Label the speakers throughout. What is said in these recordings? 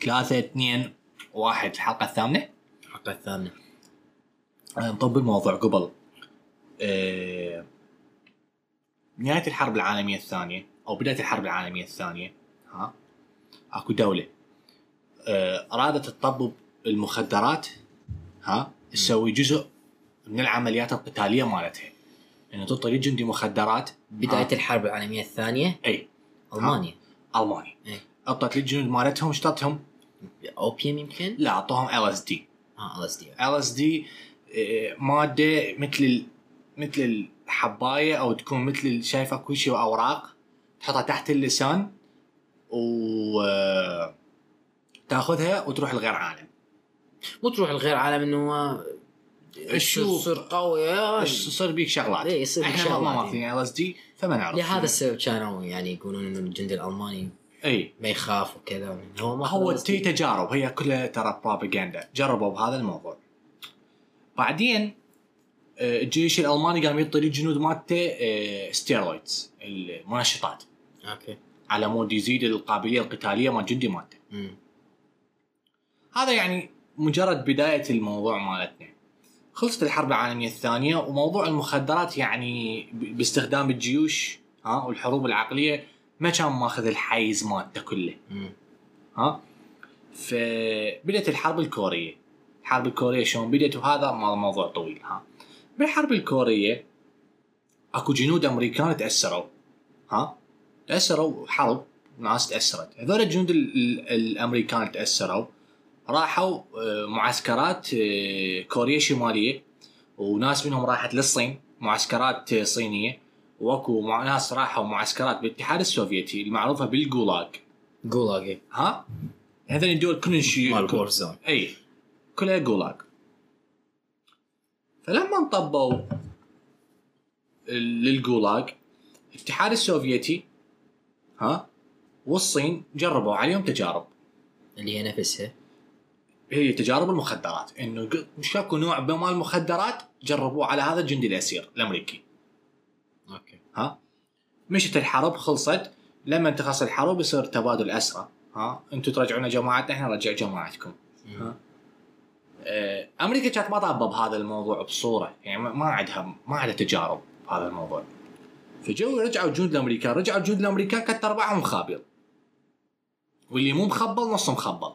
Speaker 1: 3 2 1 الحلقه الثامنه
Speaker 2: الحلقه الثامنه
Speaker 1: آه. نطب الموضوع آه، قبل آه، نهاية الحرب العالمية الثانية أو بداية الحرب العالمية الثانية ها أكو دولة آه، أرادت تطبب المخدرات ها تسوي جزء من العمليات القتالية مالتها إنه تعطي للجندي مخدرات
Speaker 2: بدايه
Speaker 1: ها،
Speaker 2: الحرب العالميه الثانيه
Speaker 1: أي آه.
Speaker 2: المانيا
Speaker 1: ألماني
Speaker 2: إيه.
Speaker 1: أعطت للجنود مالتهم شطتهم
Speaker 2: اوبيوم يمكن
Speaker 1: لا أعطوهم ال اس دي
Speaker 2: اه ال اس دي
Speaker 1: ال اس دي ماده إيه، مثل ال- مثل الحبايه او تكون مثل ال- شايف اكو شيء اوراق تحطها تحت اللسان و آه، تاخذها وتروح لغير عالم
Speaker 2: مو تروح لغير عالم انه آه،
Speaker 1: شوف.
Speaker 2: تصير قوي آه.
Speaker 1: بس يصير بيك شغلات
Speaker 2: إيه، يصير بيك
Speaker 1: احنا ما- ما
Speaker 2: شغلات،
Speaker 1: ماخذين ال اس دي فما نعرف
Speaker 2: لهذا السبب كانوا يعني يقولون انه الجندي الالماني
Speaker 1: اي
Speaker 2: ما يخاف وكذا هو ما
Speaker 1: هو
Speaker 2: خلص.
Speaker 1: تي تجارب هي كلها ترى بروباغندا جربوا بهذا الموضوع بعدين آه، الجيش الالماني قام يعطي للجنود مالته آه، ستيرويدز المنشطات
Speaker 2: اوكي
Speaker 1: على مود يزيد القابليه القتاليه مال جندي مالته
Speaker 2: مم.
Speaker 1: هذا يعني مجرد بدايه الموضوع مالتنا خلصت الحرب العالميه الثانيه وموضوع المخدرات يعني ب- باستخدام الجيوش ها والحروب العقليه ما كان ماخذ الحيز مالته كله
Speaker 2: مم.
Speaker 1: ها فبدت الحرب الكوريه الحرب الكوريه شلون بدت وهذا مو- موضوع طويل ها بالحرب الكوريه اكو جنود امريكان تاثروا ها تاثروا حرب ناس تاثرت هذول الجنود ال- ال- الامريكان تاثروا راحوا آه، معسكرات آه، كوريا الشماليه وناس منهم راحت للصين معسكرات آه، صينيه واكو مع- ناس راحوا معسكرات بالاتحاد السوفيتي المعروفه بالجولاج
Speaker 2: جولاج
Speaker 1: ها هذول الدول كلن شيء
Speaker 2: مال وور زون
Speaker 1: اي كلها جولاج فلما انطبوا ال- للجولاج الاتحاد السوفيتي ها والصين جربوا عليهم تجارب
Speaker 2: اللي هي نفسها
Speaker 1: هي تجارب المخدرات انه ق- شكوا نوع ما المخدرات جربوه على هذا الجندي الاسير الامريكي
Speaker 2: اوكي
Speaker 1: ها مشت الحرب خلصت لما تخلص الحرب يصير تبادل اسرى ها انتم ترجعون جماعتنا احنا نرجع جماعتكم
Speaker 2: مم.
Speaker 1: آه، امريكا كانت ما طابه بهذا الموضوع بصوره يعني ما- ما عندها ما عندها تجارب بهذا الموضوع فجو رجعوا جنود الامريكان رجعوا جنود الامريكان كثر ارباعهم مخابل واللي مو مخبل نص مخبل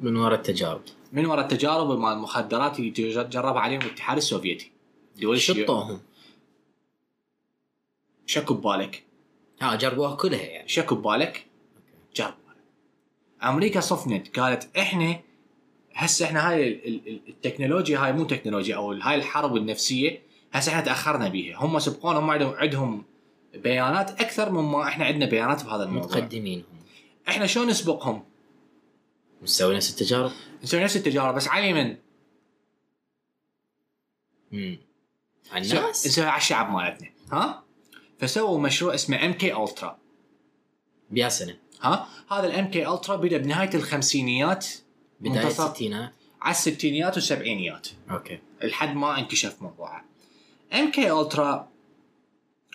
Speaker 2: من وراء التجارب
Speaker 1: من وراء التجارب مال المخدرات اللي تج- جربها عليهم الاتحاد السوفيتي دول الشيوعية.
Speaker 2: شطوهم
Speaker 1: شكوا ببالك
Speaker 2: ها جربوها كلها يعني
Speaker 1: شكوا ببالك جربوا امريكا صفنت قالت احنا هسه احنا هاي ال- ال- ال- التكنولوجيا هاي مو تكنولوجيا او هاي الحرب النفسيه هسه احنا تاخرنا بيها هم سبقونا هم عندهم عندهم بيانات اكثر مما احنا عندنا بيانات بهذا الموضوع
Speaker 2: متقدمين هم
Speaker 1: احنا شلون نسبقهم؟
Speaker 2: مسوي نفس التجارب
Speaker 1: نسوي نفس التجاره بس على اليمن
Speaker 2: امم على
Speaker 1: نسوي-
Speaker 2: الناس
Speaker 1: نسوي على الشعب مالتنا ها؟ فسووا مشروع اسمه ام كي الترا
Speaker 2: بيا سنه
Speaker 1: ها؟ هذا الام كي الترا بدا بنهايه الخمسينيات
Speaker 2: بدايه
Speaker 1: منتصف-
Speaker 2: الستينات
Speaker 1: على الستينيات والسبعينيات
Speaker 2: اوكي
Speaker 1: لحد ما انكشف موضوعه ام كي الترا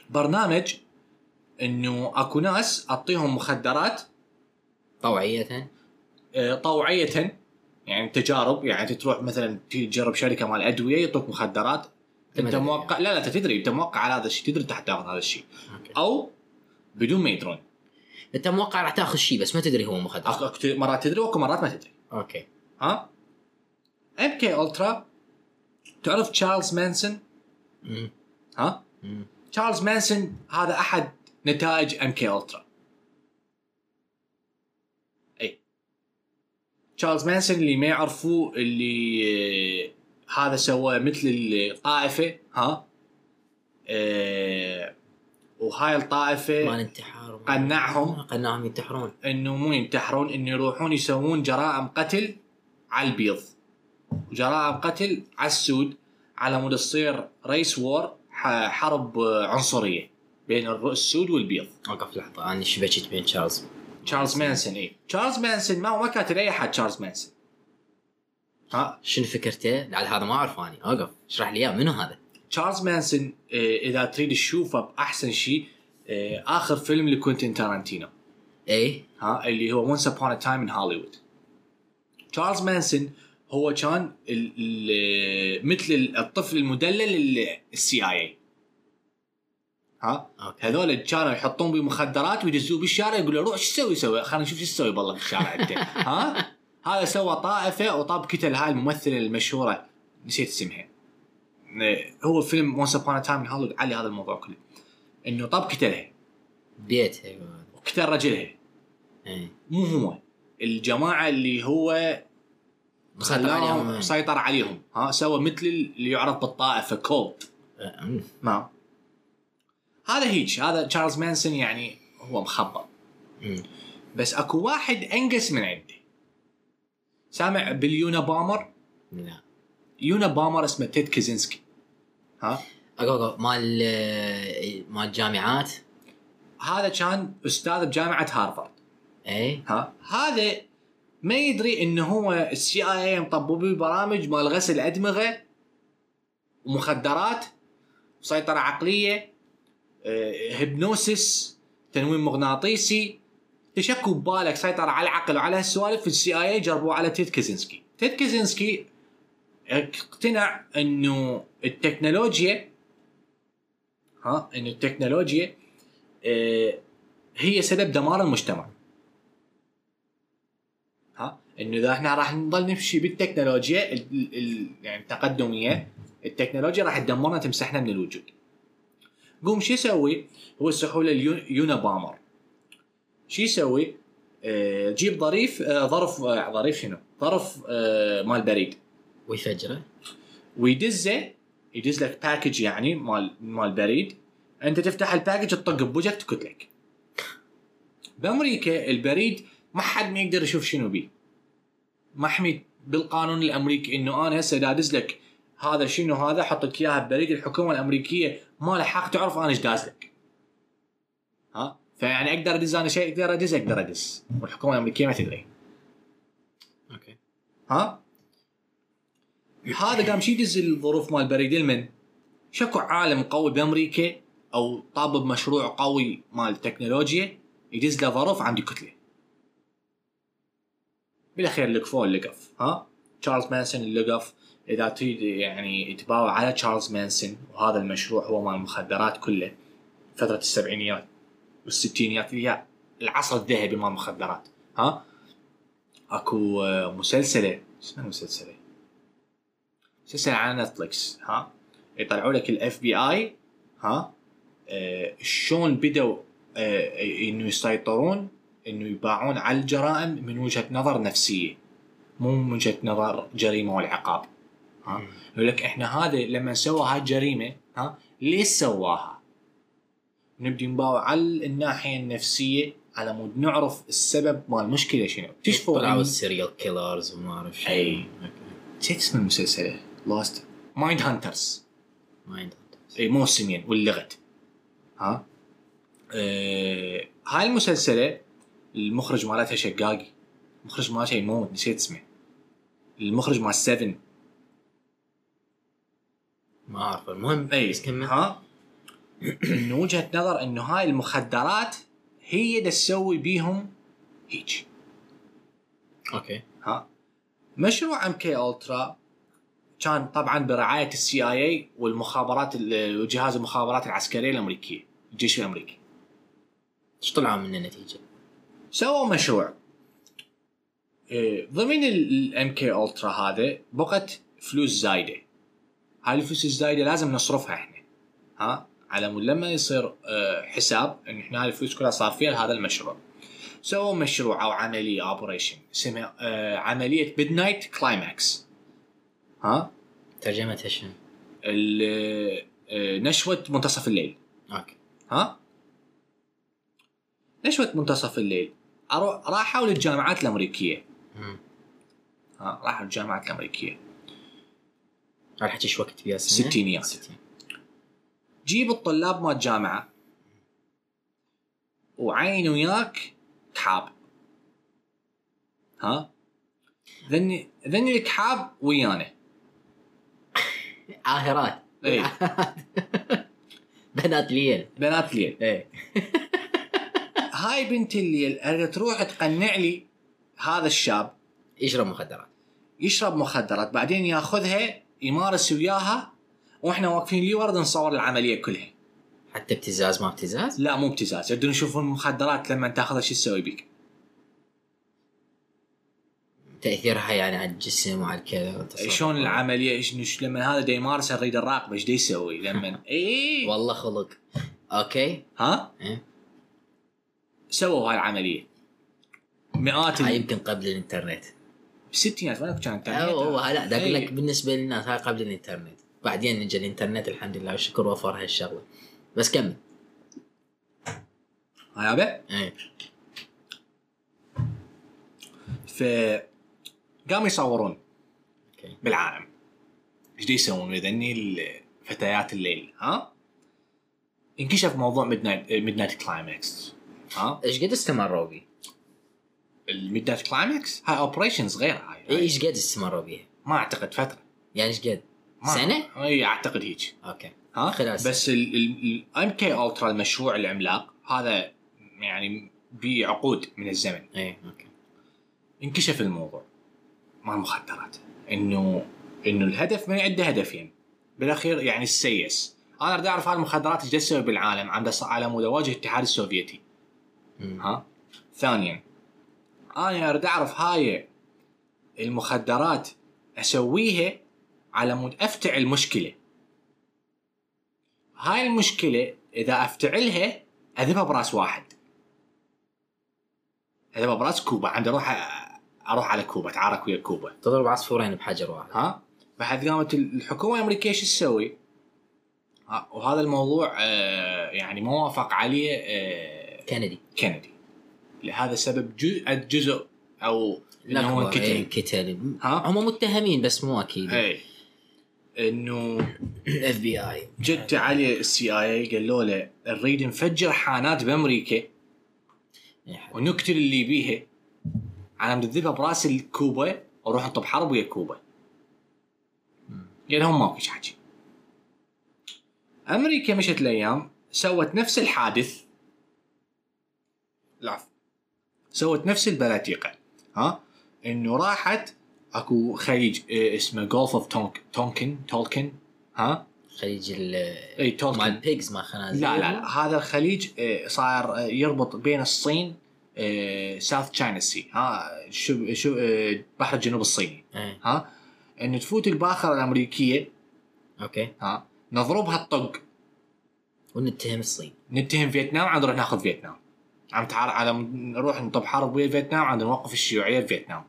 Speaker 1: برنامج انه اكو ناس اعطيهم مخدرات
Speaker 2: طوعيه
Speaker 1: آه، طوعيه يعني تجارب يعني أنت تروح مثلا تجرب شركه مال ادويه يعطوك مخدرات انت
Speaker 2: تدري
Speaker 1: موقع لا لا أنت تدري انت موقع على هذا الشيء تدري تحت تاخذ هذا الشيء
Speaker 2: أوكي.
Speaker 1: او بدون ما يدرون
Speaker 2: انت موقع راح تاخذ شيء بس ما تدري هو مخدر
Speaker 1: أكو- أكو مرات تدري واكو مرات ما تدري
Speaker 2: اوكي
Speaker 1: ها ام كي الترا تعرف تشارلز مانسون
Speaker 2: مم.
Speaker 1: ها
Speaker 2: مم.
Speaker 1: تشارلز مانسون هذا احد نتائج ام كي الترا اي تشارلز مانسون اللي ما يعرفوه اللي آه، هذا سوى مثل الطائفه ها آه، وهاي
Speaker 2: مال
Speaker 1: الطائفه
Speaker 2: انتحار
Speaker 1: قنعهم.
Speaker 2: قنعهم ينتحرون
Speaker 1: انه مو ينتحرون انه يروحون يسوون جرائم قتل على البيض جرائم قتل على السود على مود تصير ريس وور ح- حرب آه، عنصريه بين الر- السود والبيض
Speaker 2: اوقف لحظه انا شبكت بين تشارلز
Speaker 1: تشارلز مانسون اي تشارلز مانسون ما ما كاتل اي احد تشارلز مانسون ها
Speaker 2: شنو فكرته؟ لا هذا ما اعرفه انا اوقف اشرح لي اياه منو هذا؟
Speaker 1: تشارلز مانسون إيه، آه، اذا تريد تشوفه باحسن شيء آه، اخر فيلم لكوينتين تارانتينو
Speaker 2: اي
Speaker 1: ها اللي هو وانس ابون ا تايم ان هوليوود تشارلز مانسون هو كان ال- ال- مثل الطفل المدلل السي اي اي ها
Speaker 2: اوكي
Speaker 1: هذول كانوا يحطون بيه مخدرات ويدزوه بالشارع يقولوا روح شو تسوي سوي خلينا نشوف شو تسوي بالله بالشارع انت ها هذا سوى طائفه وطاب كتل هاي الممثله المشهوره نسيت اسمها إيه، هو فيلم وانس ابون تايم هوليوود على هذا الموضوع كله انه طاب كتلها
Speaker 2: بيتها يقول.
Speaker 1: وكتل رجلها
Speaker 2: إي.
Speaker 1: مو هو الجماعه اللي هو
Speaker 2: مسيطر عليهم إيه. إي.
Speaker 1: سيطر عليهم ها سوى مثل اللي يعرف بالطائفه كولت
Speaker 2: أمم.
Speaker 1: نعم هذا هيج هذا تشارلز مانسون يعني هو مخبط
Speaker 2: أمم.
Speaker 1: بس اكو واحد انقص من عندي سامع باليونا بامر
Speaker 2: لا
Speaker 1: يونا بامر اسمه تيد كيزنسكي ها
Speaker 2: اقو اقو مال إيه. مال الجامعات
Speaker 1: هذا كان استاذ بجامعه هارفارد
Speaker 2: اي
Speaker 1: ها هذا ما يدري انه هو السي اي اي مطبوبين برامج مال غسل ادمغه ومخدرات سيطره عقليه آه، هيبنوسيس تنويم مغناطيسي تشكوا ببالك سيطره على العقل وعلى هالسوالف السي اي اي جربوه على تيد كيزنسكي تيد كيزنسكي اقتنع انه التكنولوجيا ها انه التكنولوجيا آه، هي سبب دمار المجتمع ها انه اذا احنا راح نضل نمشي بالتكنولوجيا ال ال يعني التقدميه التكنولوجيا راح تدمرنا تمسحنا من الوجود. قوم شو يسوي؟ هو السحوله اليونا بامر. شو يسوي؟ آه، جيب ظريف آه، ظرف آه، ظريف شنو؟ ظرف آه، مال بريد
Speaker 2: ويفجره
Speaker 1: ويدزه يدز لك باكج يعني مال مال بريد انت تفتح الباكج تطق بوجهك تكتلك. بامريكا البريد ما حد ما يقدر يشوف شنو بيه. محمي بالقانون الامريكي انه انا هسه دا ادز لك هذا شنو هذا احط لك اياها ببريد الحكومه الامريكيه ما لها حق تعرف انا ايش داز لك. ها؟ فيعني اقدر ادز انا شيء اقدر ادز اقدر ادز والحكومه الامريكيه ما تدري.
Speaker 2: اوكي
Speaker 1: ها هذا قام شي يدز الظروف مال بريد المن شكو عالم قوي بامريكا او طاب بمشروع قوي مال تكنولوجيا يدز له ظروف عندي كتله بالاخير لقفوه اللقف ها تشارلز مانسون اللقف اذا تريد يعني تباوع على تشارلز مانسون وهذا المشروع هو مال المخدرات كله فتره السبعينيات والستينيات اللي هي العصر الذهبي مال المخدرات ها اكو آه، مسلسله اسمها مسلسله مسلسل على نتفلكس ها يطلعوا لك الاف بي اي ها آه، شلون بدوا آه، انه يسيطرون انه يباعون على الجرائم من وجهه نظر نفسيه مو من وجهه نظر جريمه والعقاب ها
Speaker 2: مم.
Speaker 1: يقول لك احنا هذا لما سوى هاي الجريمه ها ليش سواها؟ نبدي نباوع على الناحيه النفسيه على مود نعرف السبب مال المشكله شنو تشوفوا
Speaker 2: طلعوا
Speaker 1: إن-
Speaker 2: السيريال كيلرز وما اعرف شو
Speaker 1: أي.
Speaker 2: اوكي
Speaker 1: نسيت اسم المسلسل لاست مايند هانترز
Speaker 2: ما عندهم
Speaker 1: اي موسمين ولغت ها أه هاي المسلسله المخرج مالتها شقاقي المخرج مالتها يموت نسيت اسمه المخرج مال 7
Speaker 2: ما اعرف المهم
Speaker 1: اي
Speaker 2: إيه، بس كمل
Speaker 1: ها انه وجهه نظر انه هاي المخدرات هي دا تسوي بيهم هيج
Speaker 2: اوكي
Speaker 1: ها مشروع ام كي الترا كان طبعا برعايه السي اي اي والمخابرات ال- وجهاز المخابرات العسكريه الامريكيه الجيش الامريكي
Speaker 2: ايش طلعوا من النتيجه؟
Speaker 1: سووا مشروع إيه، ضمن الام كي الترا هذا بقت فلوس زايده هاي الفلوس الزايده لازم نصرفها احنا ها على مود لما يصير آه، حساب ان احنا هاي الفلوس كلها صار فيها لهذا المشروع سووا مشروع او عمليه اوبريشن اسمها آه، عمليه ميد نايت كلايماكس ها
Speaker 2: ترجمتها شنو؟
Speaker 1: ال- آه، نشوه منتصف الليل
Speaker 2: اوكي
Speaker 1: ها نشوه منتصف الليل أرو- راحوا للجامعات الامريكيه
Speaker 2: مم.
Speaker 1: ها راحوا الجامعات الامريكيه
Speaker 2: راح احكي ايش وقت بيها السنه؟
Speaker 1: ستينيات.
Speaker 2: ستين
Speaker 1: جيب الطلاب مال الجامعه وعين وياك كحاب ها ذني ذني الكحاب ويانا
Speaker 2: عاهرات
Speaker 1: اي
Speaker 2: بنات ليل
Speaker 1: بنات ليل
Speaker 2: اي
Speaker 1: هاي بنت اللي اللي تروح تقنع لي هذا الشاب
Speaker 2: يشرب مخدرات
Speaker 1: يشرب مخدرات بعدين ياخذها يمارس وياها واحنا واقفين لي ورد نصور العمليه كلها
Speaker 2: حتى ابتزاز ما ابتزاز
Speaker 1: لا مو ابتزاز يبدون يشوفون المخدرات لما تاخذها شو تسوي بيك
Speaker 2: تاثيرها يعني على الجسم وعلى الكذا والتصرف.
Speaker 1: شلون العمليه إيش- إيش- لما هذا دا يمارس الريد الراقبه ايش دا يسوي لما اي
Speaker 2: والله خلق اوكي
Speaker 1: ها
Speaker 2: إيه.
Speaker 1: سووا هاي العمليه مئات
Speaker 2: هاي
Speaker 1: ال-
Speaker 2: يمكن قبل الانترنت
Speaker 1: بالستينات وين كانت
Speaker 2: أو هو لا ده اقول
Speaker 1: إيه.
Speaker 2: لك بالنسبه للناس هاي قبل الانترنت بعدين اجى الانترنت الحمد لله والشكر وفر هالشغله بس كمل
Speaker 1: هاي أبا؟
Speaker 2: ايه
Speaker 1: ف قاموا يصورون
Speaker 2: اوكي
Speaker 1: بالعالم ايش دي يسوون ذني الفتيات الليل ها انكشف موضوع ميد نايت ميد نايت كلايمكس ها
Speaker 2: ايش قد استمروا بيه؟
Speaker 1: الميد نايت كلايمكس هاي اوبريشن صغيره هاي
Speaker 2: إيه، ايش قد استمروا بيه؟
Speaker 1: ما اعتقد فتره
Speaker 2: يعني ايش قد؟
Speaker 1: ما
Speaker 2: سنه؟
Speaker 1: اي اعتقد هيك
Speaker 2: اوكي
Speaker 1: ها
Speaker 2: خلال سنة.
Speaker 1: بس الام كي الترا المشروع العملاق هذا يعني بعقود من الزمن
Speaker 2: ايه اوكي
Speaker 1: انكشف الموضوع مع المخدرات انه انه الهدف من عنده هدفين بالاخير يعني السيس انا اريد اعرف هاي المخدرات ايش دا تسوي بالعالم عم دس- على مود اواجه الاتحاد السوفيتي
Speaker 2: أمم.
Speaker 1: ها ثانيا انا اريد اعرف هاي المخدرات اسويها على مود افتعل مشكله هاي المشكله اذا افتعلها اذبها براس واحد اذبها براس كوبا عندي اروح أ- اروح على كوبا اتعارك ويا كوبا
Speaker 2: تضرب عصفورين بحجر واحد
Speaker 1: ها بعد قامت الحكومه الامريكيه شو تسوي؟ ها، وهذا الموضوع آه، يعني ما وافق عليه آه،
Speaker 2: كندي
Speaker 1: كندي لهذا السبب جزء الجزء او انه هو
Speaker 2: لحظة، إيه،
Speaker 1: انقتل
Speaker 2: انقتل
Speaker 1: ها؟ إيه.
Speaker 2: هم متهمين بس مو اكيد
Speaker 1: اي انه
Speaker 2: الاف بي اي
Speaker 1: جد علي السي اي اي قالوا له نريد نفجر حانات بامريكا
Speaker 2: إيه،
Speaker 1: ونقتل اللي بيها على مود نذبها براس الكوبا ونروح نطب حرب ويا يعني كوبا قال لهم ماكو شي حكي امريكا مشت الايام سوت نفس الحادث العفو سوت نفس البلاتيقه ها انه راحت اكو خليج إيه، اسمه جولف اوف تونك تونكن تولكن ها
Speaker 2: خليج ال
Speaker 1: اي
Speaker 2: مال
Speaker 1: تولكن
Speaker 2: البيجز ما خنازير
Speaker 1: إيه. لا لا, لا هذا الخليج إيه، صار إيه، يربط بين الصين آه، ساوث تشاينا سي ها شو شو إيه، بحر الجنوب الصيني
Speaker 2: إيه،
Speaker 1: ها انه تفوت الباخره الامريكيه
Speaker 2: اوكي
Speaker 1: ها نضربها الطق
Speaker 2: ونتهم الصين
Speaker 1: نتهم فيتنام عاد نروح ناخذ فيتنام عم تعال على نروح نطب حرب ويا فيتنام عاد نوقف الشيوعيه بفيتنام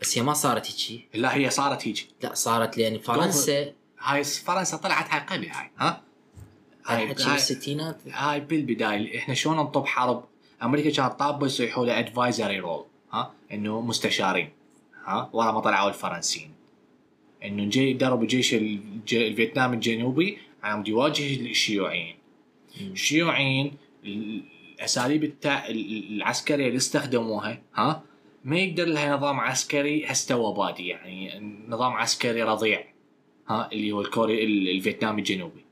Speaker 2: بس هي ما صارت هيجي
Speaker 1: لا هي صارت هيجي
Speaker 2: لا صارت لان فرنسا
Speaker 1: هاي فرنسا طلعت هاي قبل هاي ها طيب، هاي
Speaker 2: حكي
Speaker 1: هاي,
Speaker 2: بالستينات
Speaker 1: هاي بالبدايه احنا شلون نطب حرب امريكا كانت طابه يصيحوا له ادفايزري رول ها انه مستشارين ها ورا ما طلعوا الفرنسيين انه جاي درب الجيش الج- الفيتنامي الجنوبي عم يواجه الشيوعيين الشيوعيين الاساليب التا... العسكريه اللي استخدموها ها ما يقدر لها نظام عسكري هسه تو بادي يعني نظام عسكري رضيع ها اللي هو الكوري ال- الفيتنامي الجنوبي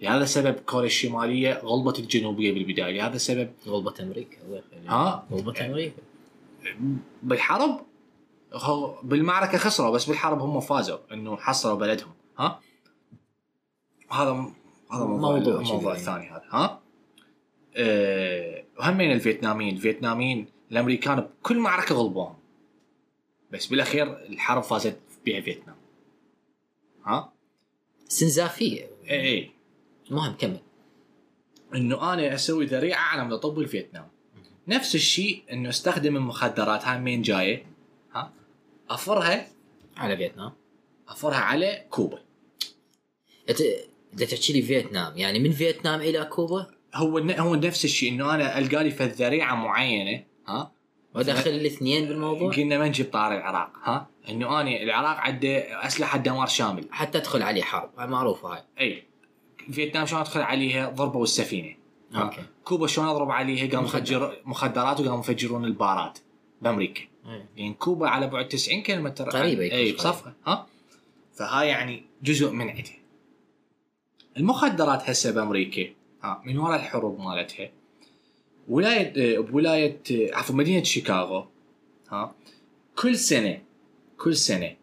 Speaker 1: لهذا السبب كوريا الشماليه غلبت الجنوبيه بالبدايه لهذا السبب
Speaker 2: غلبة امريكا الله يخليك.
Speaker 1: ها
Speaker 2: غلبة امريكا
Speaker 1: بالحرب هو بالمعركه خسروا بس بالحرب هم فازوا انه حصروا بلدهم ها هذا هذا موضوع
Speaker 2: موضوع
Speaker 1: موضوع, موضوع
Speaker 2: جديد.
Speaker 1: الثاني هذا ها أه وهمين الفيتناميين الفيتناميين الامريكان بكل معركه غلبوهم بس بالاخير الحرب فازت بها فيتنام ها إيه،
Speaker 2: استنزافية
Speaker 1: اي اي
Speaker 2: المهم كمل
Speaker 1: انه انا اسوي ذريعه على مدى طب الفيتنام نفس الشيء انه استخدم المخدرات هاي من جايه ها افرها
Speaker 2: على فيتنام
Speaker 1: افرها على كوبا
Speaker 2: انت بدك تحكي لي فيتنام يعني من فيتنام الى كوبا
Speaker 1: هو ن- هو نفس الشيء انه انا القى لي فد ذريعه معينه ها
Speaker 2: وادخل الاثنين بالموضوع
Speaker 1: قلنا ما نجيب طار العراق ها انه انا العراق عنده اسلحه دمار شامل
Speaker 2: حتى ادخل عليه حرب هاي معروفة هاي
Speaker 1: اي فيتنام شلون ادخل عليها ضربوا السفينه ها.
Speaker 2: اوكي
Speaker 1: كوبا شلون اضرب عليها قاموا
Speaker 2: مخدرات.
Speaker 1: يفجر مخدرات وقاموا يفجرون البارات بامريكا
Speaker 2: إيه.
Speaker 1: لان يعني كوبا على بعد 90 كيلومتر
Speaker 2: قريبة يكون
Speaker 1: اي
Speaker 2: شوي.
Speaker 1: بصفها ها فها يعني جزء من عندها المخدرات هسه بامريكا ها من وراء الحروب مالتها ولايه آه، بولايه آه، عفوا مدينه شيكاغو ها كل سنه كل سنه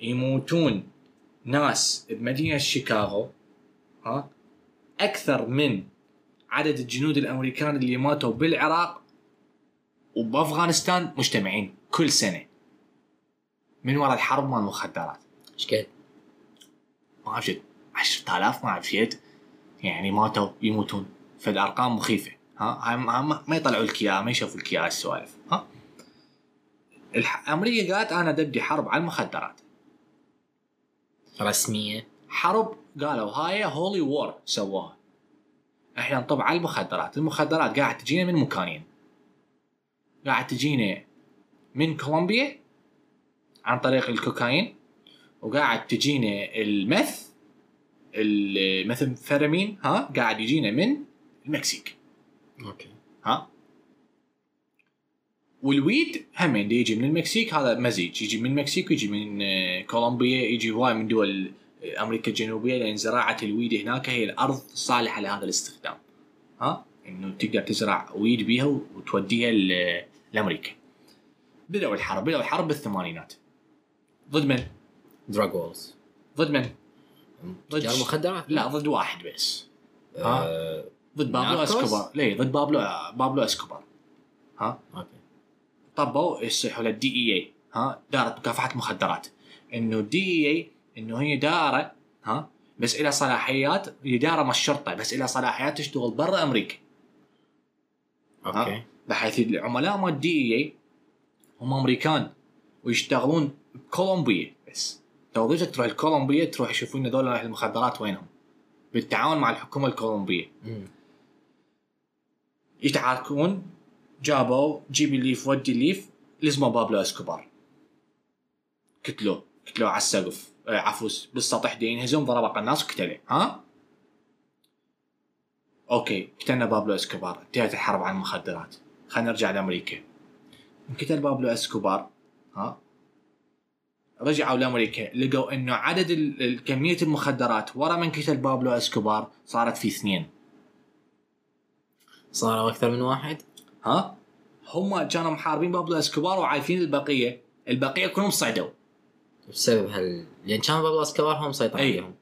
Speaker 1: يموتون ناس بمدينه شيكاغو ها اكثر من عدد الجنود الامريكان اللي ماتوا بالعراق وبافغانستان مجتمعين كل سنه من وراء الحرب مال المخدرات
Speaker 2: ايش كذا
Speaker 1: ما اعرف شد 10000 ما اعرف شد يعني ماتوا يموتون فالارقام مخيفه ها هاي ما- ما- ما يطلعوا لك اياها ما يشوفوا لك اياها السوالف ها الح- امريكا قالت انا دبدي حرب على المخدرات
Speaker 2: رسميه
Speaker 1: حرب قالوا هاي هولي وور سووها احنا نطب على المخدرات المخدرات قاعد تجينا من مكانين قاعد تجينا من كولومبيا عن طريق الكوكايين وقاعد تجينا المث الميثامفيتامين ها قاعد يجينا من المكسيك
Speaker 2: اوكي
Speaker 1: ها والويد هم اللي يجي من المكسيك هذا مزيج يجي من المكسيك ويجي من آه، كولومبيا يجي هواي من دول آه، امريكا الجنوبيه لان زراعه الويد هناك هي الارض الصالحه لهذا الاستخدام ها انه تقدر تزرع ويد بيها وتوديها ل- لامريكا بدأوا الحرب بدأوا الحرب بالثمانينات ضد من؟
Speaker 2: دراج وولز
Speaker 1: ضد من؟ ضد
Speaker 2: تجار
Speaker 1: ش-
Speaker 2: مخدرات
Speaker 1: لا ضد واحد بس ها؟
Speaker 2: آه،
Speaker 1: ضد بابلو
Speaker 2: ناركوس؟
Speaker 1: اسكوبار ليه ضد بابلو بابلو اسكوبار
Speaker 2: اوكي
Speaker 1: طبوا يصيحوا للدي اي اي E ها دارة مكافحة مخدرات انه الدي اي اي انه هي دارة ها بس لها صلاحيات هي دارة ما الشرطة بس لها صلاحيات تشتغل برا امريكا
Speaker 2: اوكي
Speaker 1: بحيث العملاء مال الدي اي اي هم امريكان ويشتغلون بكولومبيا بس توظيفتك تروح لكولومبيا تروح يشوفون هذول اهل المخدرات وينهم بالتعاون مع الحكومة الكولومبية
Speaker 2: مم.
Speaker 1: يتعاركون جابوا جيب الليف ودي الليف لزموا بابلو اسكوبار قتلوه قتلوه على السقف آه، عفوس بالسطح دي ينهزم ضربه قناص وقتله ها اوكي قتلنا بابلو اسكوبار انتهت الحرب على المخدرات خلينا نرجع لامريكا انقتل بابلو اسكوبار ها رجعوا لامريكا لقوا انه عدد ال- ال- كميه المخدرات ورا من قتل بابلو اسكوبار صارت في اثنين
Speaker 2: صاروا اكثر من واحد
Speaker 1: ها هم كانوا محاربين بابلو اسكوبار وعايفين البقيه البقيه كلهم صعدوا
Speaker 2: بسبب هال لان كان بابا اسكوبار هم مسيطر
Speaker 1: أي.
Speaker 2: عليهم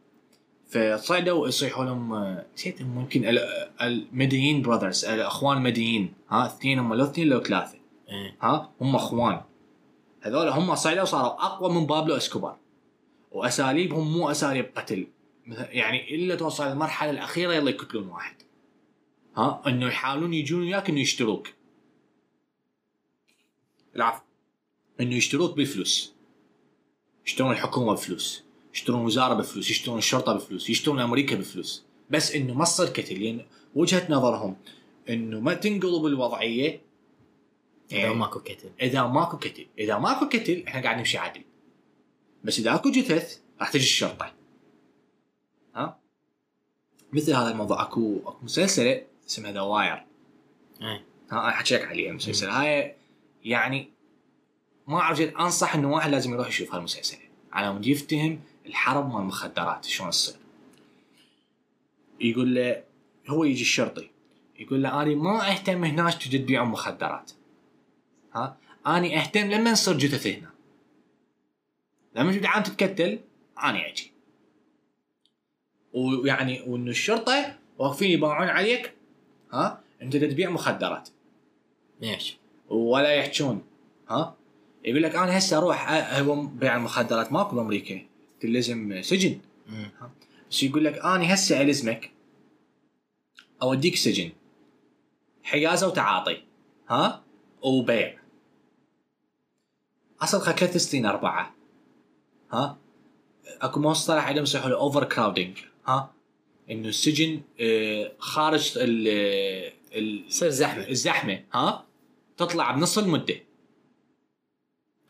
Speaker 1: فصعدوا يصيحوا لهم آه، نسيت ممكن ال- آه، المدينين براذرز الاخوان المدينين ها اثنين هم لو اثنين لو ثلاثه
Speaker 2: ايه
Speaker 1: ها هم اخوان هذول هم صعدوا صاروا اقوى من بابلو اسكوبار واساليبهم مو اساليب قتل مثل- يعني الا توصل المرحله الاخيره يلا يقتلون واحد ها انه يحاولون يجون وياك انه يشتروك العفو انه يشتروك بالفلوس يشترون الحكومه بفلوس يشترون وزاره بفلوس يشترون الشرطه بفلوس يشترون امريكا بفلوس بس انه ما تصير كتل لان وجهه نظرهم انه ما يعني تنقلب الوضعيه
Speaker 2: اذا ماكو كتل
Speaker 1: اذا ماكو كتل اذا ماكو كتل احنا قاعد نمشي عدل بس اذا اكو جثث راح تجي الشرطه ها مثل هذا الموضوع اكو اكو مسلسله اسمها ذا واير
Speaker 2: ايه
Speaker 1: ها انا حكيت لك عليها المسلسل هاي يعني ما اعرف جد انصح انه واحد لازم يروح يشوف هالمسلسل على مود يفتهم الحرب مال المخدرات شلون تصير يقول له هو يجي الشرطي يقول له اني ما اهتم هناك تجي تبيع مخدرات ها اني اهتم لما نصير جثث هنا لما تبدا عم تتكتل اني اجي ويعني وانه الشرطه واقفين يباعون عليك ها انت دا تبيع مخدرات
Speaker 2: ليش؟
Speaker 1: ولا يحجون ها يقول لك انا هسه اروح أ- هو بيع المخدرات ماكو بامريكا تلزم سجن
Speaker 2: مم.
Speaker 1: بس يقول لك اني "آه، هسه الزمك اوديك سجن حيازه وتعاطي ها وبيع اصل خلك ثلاث سنين اربعه ها اكو مصطلح عندهم يصيحوا له اوفر كراودنج ها انه السجن آه، خارج ال آه، ال-
Speaker 2: تصير زحمه
Speaker 1: الزحمه ها تطلع بنص المده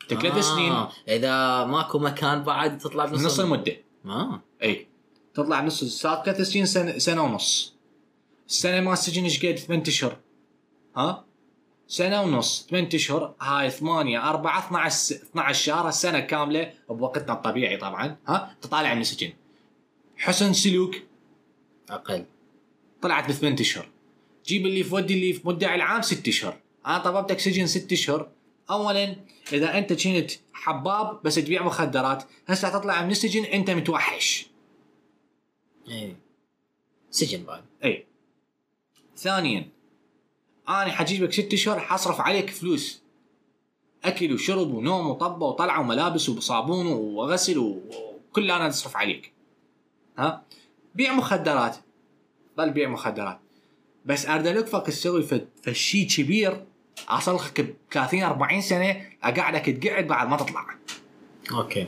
Speaker 1: تكلت آه. سنين
Speaker 2: آه، اذا ماكو مكان بعد تطلع بنص
Speaker 1: بنص المده
Speaker 2: ما
Speaker 1: اي تطلع بنص صار ثلاث سنين سنه سنه ونص السنه ما السجن ايش قد؟ ثمان اشهر ها سنه ونص ثمان اشهر هاي 8 4 12 س- 12 شهر السنه كامله بوقتنا الطبيعي طبعا ها تطالع من السجن حسن سلوك
Speaker 2: اقل
Speaker 1: طلعت بثمان اشهر جيب اللي في ودي اللي في مدعي العام ست اشهر انا طلبتك سجن ست اشهر اولا اذا انت كنت حباب بس تبيع مخدرات هسه تطلع من السجن انت متوحش
Speaker 2: ايه سجن بعد
Speaker 1: اي ثانيا انا حجيبك ست اشهر حصرف عليك فلوس اكل وشرب ونوم وطبه وطلعه وملابس وصابون وغسل و- وكل انا اصرف عليك ها بيع مخدرات ضل بيع مخدرات بس اريد الفك تسوي فد- فشي كبير اصلخك ب 30 40 سنه اقعدك تقعد بعد ما تطلع
Speaker 2: اوكي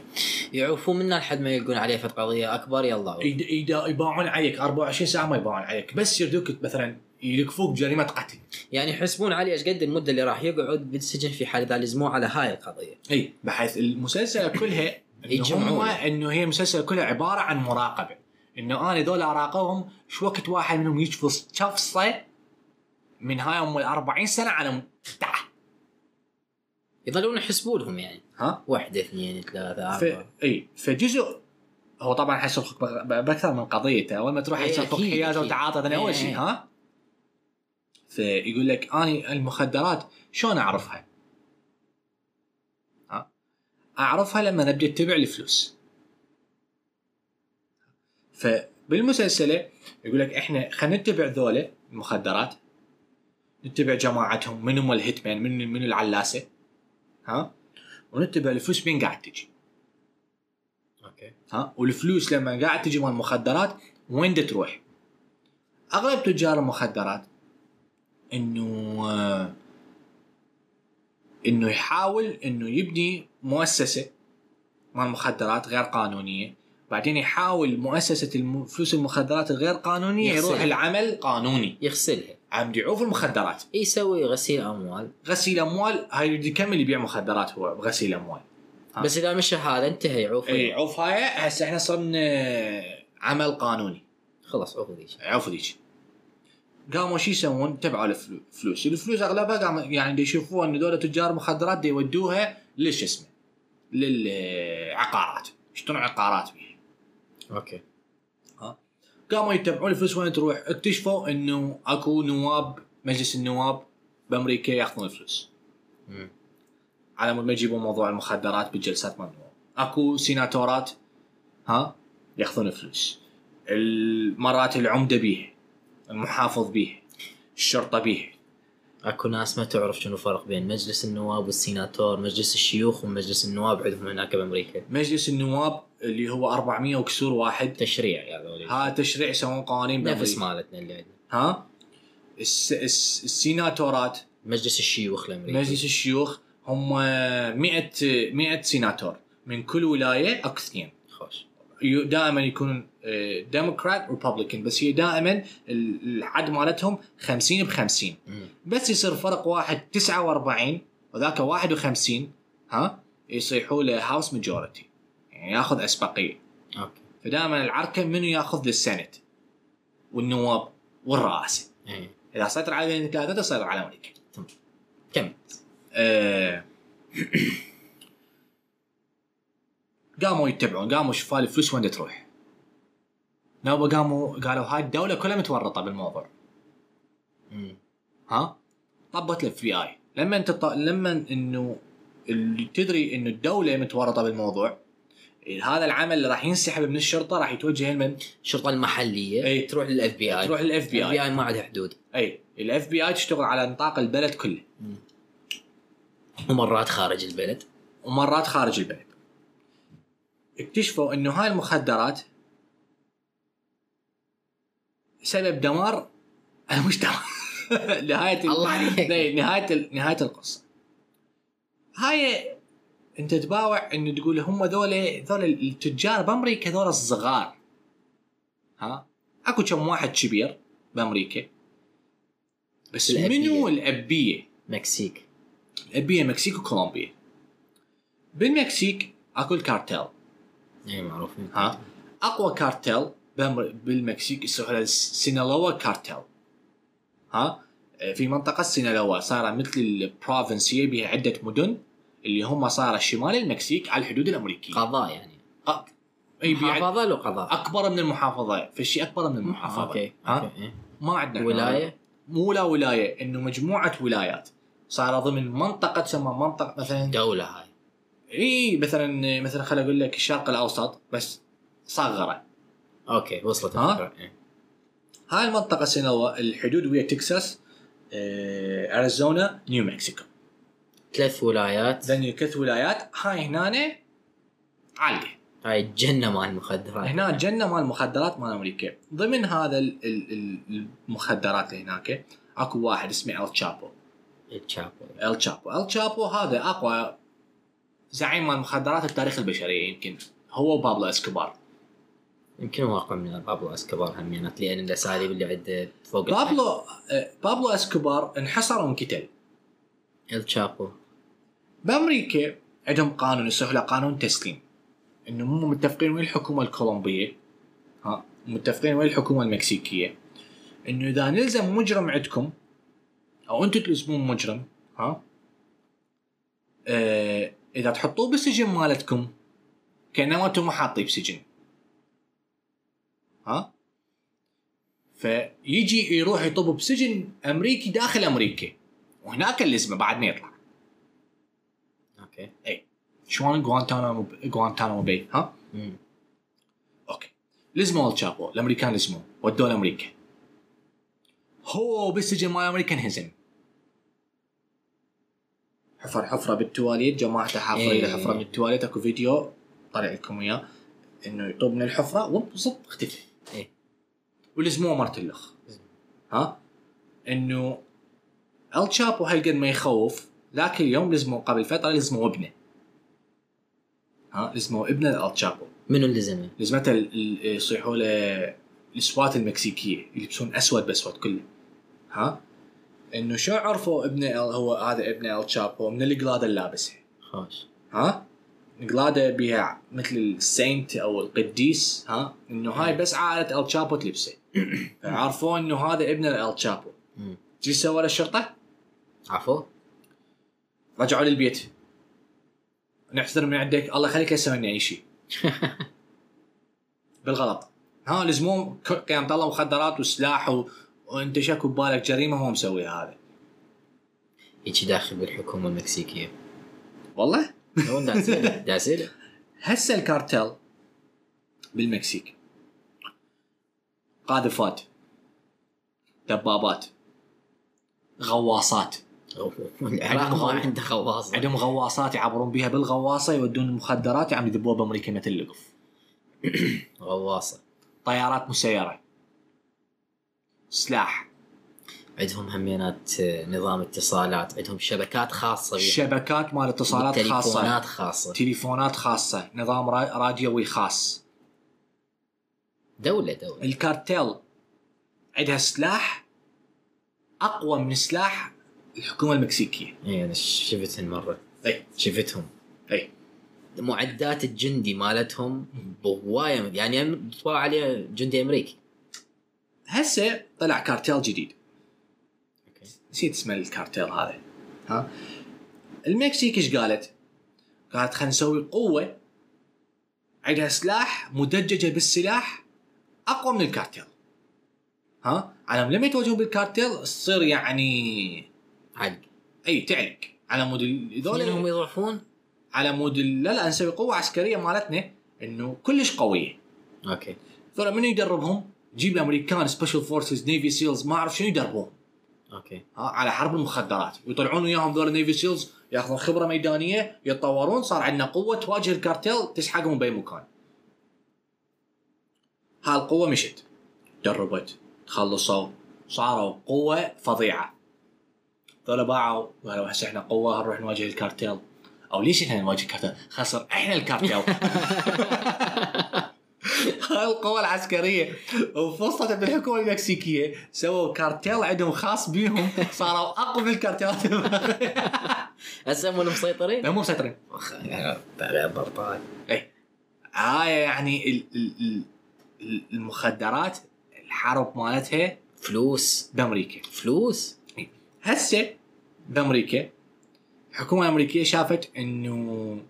Speaker 2: يعوفوا منا لحد ما يلقون عليه فت قضيه اكبر يلا عوف.
Speaker 1: يد- يد- يباعون عليك 24 ساعه ما يباعون عليك بس يردوك مثلا يلكفوك جريمه قتل
Speaker 2: يعني يحسبون عليه ايش قد المده اللي راح يقعد بالسجن في حال اذا لزموه على هاي القضيه
Speaker 1: اي بحيث المسلسل كلها إنه هم
Speaker 2: يجمعونه.
Speaker 1: انه هي مسلسل كلها عباره عن مراقبه انه انا دول اراقبهم شو وقت واحد منهم يجفص شفصه من هاي ام ال 40 سنه على م- تحت
Speaker 2: يظلون يحسبوا لهم يعني
Speaker 1: ها
Speaker 2: واحده اثنين ثلاثه
Speaker 1: ف...
Speaker 2: اربعه
Speaker 1: اي فجزء هو طبعا حيصرفك بأ- بأ- باكثر من قضيته اول ما تروح
Speaker 2: إيه،
Speaker 1: يصرفك
Speaker 2: أكيد،
Speaker 1: حيازه
Speaker 2: أكيد.
Speaker 1: وتعاطى هذا
Speaker 2: إيه،
Speaker 1: اول شيء
Speaker 2: إيه.
Speaker 1: ها فيقول لك اني المخدرات شلون اعرفها؟ ها؟ اعرفها لما نبدا اتبع الفلوس فبالمسلسله يقول لك احنا خلينا نتبع ذولا المخدرات نتبع جماعتهم من هم الهيتمان من من العلاسه ها ونتبع الفلوس مين قاعد تجي
Speaker 2: اوكي
Speaker 1: ها والفلوس لما قاعد تجي مال المخدرات وين دا تروح؟ اغلب تجار المخدرات انه آه، انه يحاول انه يبني مؤسسه مال مخدرات غير قانونيه بعدين يحاول مؤسسه الم- فلوس المخدرات الغير قانونيه
Speaker 2: يغسلها.
Speaker 1: يروح العمل قانوني
Speaker 2: يغسلها
Speaker 1: عم يعوف المخدرات
Speaker 2: يسوي غسيل اموال
Speaker 1: غسيل اموال هاي يريد يكمل يبيع مخدرات هو بغسيل اموال ها.
Speaker 2: بس اذا مشى هذا انتهى يعوف
Speaker 1: اي عوف هاي إيه، هسه احنا صرنا آه، عمل قانوني
Speaker 2: خلاص عوف ذيك
Speaker 1: عفوا ذيك قاموا شو يسوون؟ تبعوا الفلو- الفلوس، الفلوس اغلبها قام يعني دا يشوفوها ان دول تجار مخدرات دا يودوها ليش اسمه؟ للعقارات، يشترون عقارات بيها.
Speaker 2: اوكي
Speaker 1: قاموا يتبعون الفلوس وين تروح، اكتشفوا انه اكو نواب مجلس النواب بامريكا ياخذون الفلوس
Speaker 2: مم.
Speaker 1: على مود ما يجيبوا موضوع المخدرات بالجلسات مال النواب. اكو سيناتورات ها ياخذون الفلوس. مرات العمده بيها، المحافظ بيها، الشرطه بيها.
Speaker 2: اكو ناس ما تعرف شنو فرق بين مجلس النواب والسيناتور مجلس الشيوخ ومجلس النواب عندهم هناك بامريكا
Speaker 1: مجلس النواب اللي هو 400 وكسور واحد
Speaker 2: تشريع يا ذولي
Speaker 1: ها تشريع يسوون قوانين
Speaker 2: نفس
Speaker 1: بأمريكا.
Speaker 2: مالتنا اللي عندنا
Speaker 1: ها الس الس السيناتورات
Speaker 2: مجلس الشيوخ الامريكي
Speaker 1: مجلس الشيوخ هم 100 100 سيناتور من كل ولايه اكو اثنين
Speaker 2: خوش
Speaker 1: يو- دائما يكون ديموكرات ريببليكان بس هي دائما ال- الحد مالتهم 50 ب 50
Speaker 2: مم.
Speaker 1: بس يصير فرق واحد 49 وذاك 51 ها يصيحوا له هاوس ماجورتي يعني ياخذ اسبقيه
Speaker 2: اوكي
Speaker 1: فدائما العركه منو ياخذ للسنت والنواب والرئاسه
Speaker 2: ايه
Speaker 1: اذا سيطر على بين الثلاثه تسيطر على امريكا
Speaker 2: كم
Speaker 1: آه، قاموا يتبعون قاموا شوفوا الفلوس وين تروح نوبه قاموا قالوا هاي الدوله كلها متورطه بالموضوع
Speaker 2: مم.
Speaker 1: ها طبت الاف بي اي لما انت ط... لما انه اللي تدري انه الدوله متورطه بالموضوع هذا العمل اللي راح ينسحب من الشرطه راح يتوجه لمن؟
Speaker 2: الشرطه المحليه
Speaker 1: إيه.
Speaker 2: تروح للاف بي اي
Speaker 1: تروح للاف بي
Speaker 2: الاف
Speaker 1: اي
Speaker 2: بي اي ما عندها حدود
Speaker 1: اي الاف بي اي تشتغل على نطاق البلد كله
Speaker 2: ومرات خارج البلد
Speaker 1: ومرات خارج البلد اكتشفوا انه هاي المخدرات سبب دمار المجتمع نهاية ال-
Speaker 2: الله عليك.
Speaker 1: نهاية- نهاية ال- نهاية القصة هاي انت تباوع انه تقول هم ذولا ذولا التجار بامريكا ذولا الصغار ها اكو كم واحد كبير بامريكا بس
Speaker 2: الأبية.
Speaker 1: منو الابيه
Speaker 2: مكسيك
Speaker 1: بين المكسيك وكولومبيا بالمكسيك اكو الكارتيل
Speaker 2: اي معروفين
Speaker 1: ها اقوى كارتيل بأمر- بالمكسيك يسموها السينالوا كارتيل ها آه، في منطقه سينالوا صار مثل البروفنس هي بها عده مدن اللي هم صار شمال المكسيك على الحدود الامريكيه
Speaker 2: قضاء يعني
Speaker 1: ق- أي بيع-
Speaker 2: محافظه لو قضاء Ah,
Speaker 1: اكبر من المحافظه فشي اكبر من المحافظه
Speaker 2: اوكي
Speaker 1: ها
Speaker 2: اوكي إيه.
Speaker 1: ما عندنا إحنا.
Speaker 2: ولايه
Speaker 1: مو لا ولايه انه مجموعه ولايات صار ضمن منطقه تسمى منطقه مثلا
Speaker 2: دوله هاي
Speaker 1: اي مثلا مثلا خليني اقول لك الشرق الاوسط بس صغره
Speaker 2: اوكي وصلت
Speaker 1: ها؟
Speaker 2: الفكره إيه.
Speaker 1: هاي المنطقه سنوا الحدود ويا تكساس آه، اريزونا نيو مكسيكو
Speaker 2: ثلاث ولايات
Speaker 1: ذني ثلاث ولايات هاي هنا عاليه
Speaker 2: هاي الجنه مال المخدرات
Speaker 1: هنا الجنه مال المخدرات مال امريكا ضمن هذا ال- ال- ال- المخدرات اللي هناك اكو واحد اسمه ال تشابو
Speaker 2: التشابو
Speaker 1: ال تشابو ال تشابو هذا اقوى زعيم مال المخدرات التاريخ البشريه يمكن هو بابلو اسكوبار
Speaker 2: يمكن هو اقوى من بابلو اسكوبار همينات لان الاساليب اللي عنده فوق الحد.
Speaker 1: بابلو آه، بابلو اسكوبار انحصر وانقتل
Speaker 2: إيه، التشابو
Speaker 1: بامريكا عندهم قانون يسموه له قانون تسليم انه مو متفقين ويا الحكومه الكولومبيه ها متفقين ويا الحكومه المكسيكيه انه اذا نلزم مجرم عندكم او انتم تلزمون مجرم ها آه اذا تحطوه بالسجن مالتكم كانما انتم ما حاطيه بسجن ها فيجي يروح يطب بسجن امريكي داخل امريكا وهناك اللزمه بعد ما يطلع
Speaker 2: اوكي
Speaker 1: شلون جوانتانامو جوانتانامو باي ها؟
Speaker 2: مم.
Speaker 1: اوكي لزموا التشابو الامريكان لزموه ودوه لامريكا هو بالسجن مال امريكا انهزم حفر حفره بالتواليت جماعته حافرين
Speaker 2: إيه.
Speaker 1: إيه. حفره بالتواليت اكو فيديو طلع لكم اياه انه يطوب من الحفره وبصب اختفى
Speaker 2: إيه.
Speaker 1: ولزموه مرت الاخ
Speaker 2: زين.
Speaker 1: ها انه التشابو هالقد ما يخوف ذاك اليوم لزموه قبل فتره لزموه ابنه ها لزموه ابنه التشابو
Speaker 2: منو اللي زمه؟
Speaker 1: لزمته ال- ال- يصيحوا له السوات المكسيكيه يلبسون اسود باسود كله ها انه شو عرفوا ابنه ال- هو هذا ابنه التشابو من القلاده اللي لابسها
Speaker 2: خوش
Speaker 1: ها قلاده بها مثل السينت او القديس ها انه هاي بس عائله التشابو تلبسه عرفوا انه هذا ابن التشابو
Speaker 2: مم.
Speaker 1: شو سوى للشرطه؟
Speaker 2: عفو
Speaker 1: رجعوا للبيت نحترم من عندك الله يخليك لا تسوي اي شيء بالغلط ها لزموه ك- قيام طلع مخدرات وسلاح و... وانت شكو ببالك جريمه هو مسوي هذا
Speaker 2: يجي داخل بالحكومه المكسيكيه
Speaker 1: والله
Speaker 2: هو داسيله داسيله
Speaker 1: هسه الكارتل بالمكسيك قاذفات دبابات غواصات
Speaker 2: العراق ما عنده خواص
Speaker 1: عندهم غواصات يعبرون بها بالغواصه يودون المخدرات يعم يذبوها بامريكا مثل اللقف
Speaker 2: غواصه
Speaker 1: طيارات مسيره سلاح
Speaker 2: عندهم همينات آه، نظام اتصالات عندهم شبكات خاصه بيهم.
Speaker 1: شبكات مال اتصالات خاصه
Speaker 2: طيب. تليفونات خاصه
Speaker 1: تليفونات خاصه نظام را- راديوي خاص
Speaker 2: دوله دوله
Speaker 1: الكارتيل عندها سلاح اقوى من سلاح الحكومه المكسيكيه
Speaker 2: اي انا إيه، شفتهم مره
Speaker 1: اي
Speaker 2: شفتهم
Speaker 1: اي
Speaker 2: معدات الجندي مالتهم بوايه يعني طبع عليه جندي امريكي
Speaker 1: هسه طلع كارتيل جديد
Speaker 2: اوكي
Speaker 1: نسيت اسم الكارتيل هذا ها المكسيك ايش قالت؟ قالت خلينا نسوي قوه عندها سلاح مدججه بالسلاح اقوى من الكارتيل ها على لما يتواجهون بالكارتيل تصير يعني
Speaker 2: عاد
Speaker 1: اي تعلق على مود ال-
Speaker 2: هم
Speaker 1: هذول
Speaker 2: يضعفون
Speaker 1: على مود ال- لا لا نسوي قوه عسكريه مالتنا انه كلش قويه
Speaker 2: اوكي
Speaker 1: ذولا منو يدربهم؟ جيب الامريكان سبيشال فورسز نيفي سيلز ما اعرف شنو يدربهم
Speaker 2: اوكي
Speaker 1: ها، على حرب المخدرات ويطلعون وياهم ذول نيفي سيلز ياخذون خبره ميدانيه يتطورون صار عندنا قوه تواجه الكارتيل تسحقهم باي مكان. هالقوه مشت دربت تخلصوا صاروا قوه فظيعه. ذولا باعوا قالوا هسه احنا قوه نروح نواجه الكارتيل او ليش احنا نواجه الكارتيل؟ خسر احنا الكارتيل. القوة العسكرية وفصلت عند الحكومة المكسيكية سووا كارتيل عندهم خاص بيهم صاروا أقوى من الكارتيلات
Speaker 2: هسه هم مسيطرين
Speaker 1: لا مو مسيطرين
Speaker 2: برطال
Speaker 1: هاي يعني ال- ال- ال- ال- المخدرات الحرب مالتها
Speaker 2: فلوس
Speaker 1: بأمريكا
Speaker 2: فلوس
Speaker 1: هسه بأمريكا الحكومة الأمريكية شافت إنه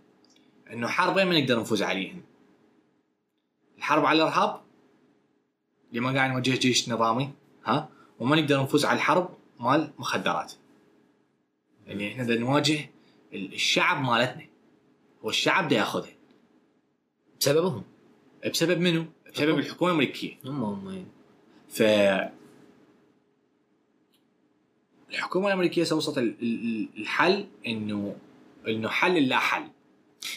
Speaker 1: إنه حربين ما نقدر نفوز عليهم الحرب على الإرهاب اللي ما قاعد نوجه جيش نظامي ها وما نقدر نفوز على الحرب مال مخدرات يعني احنا بدنا نواجه ال- الشعب مالتنا هو الشعب ده ياخذها
Speaker 2: بسببهم
Speaker 1: بسبب منو؟ بسبب الحكومه الامريكيه
Speaker 2: هم هم يعني.
Speaker 1: ف الحكومه الامريكيه سوصت ال- ال- الحل انه انه حل اللا حل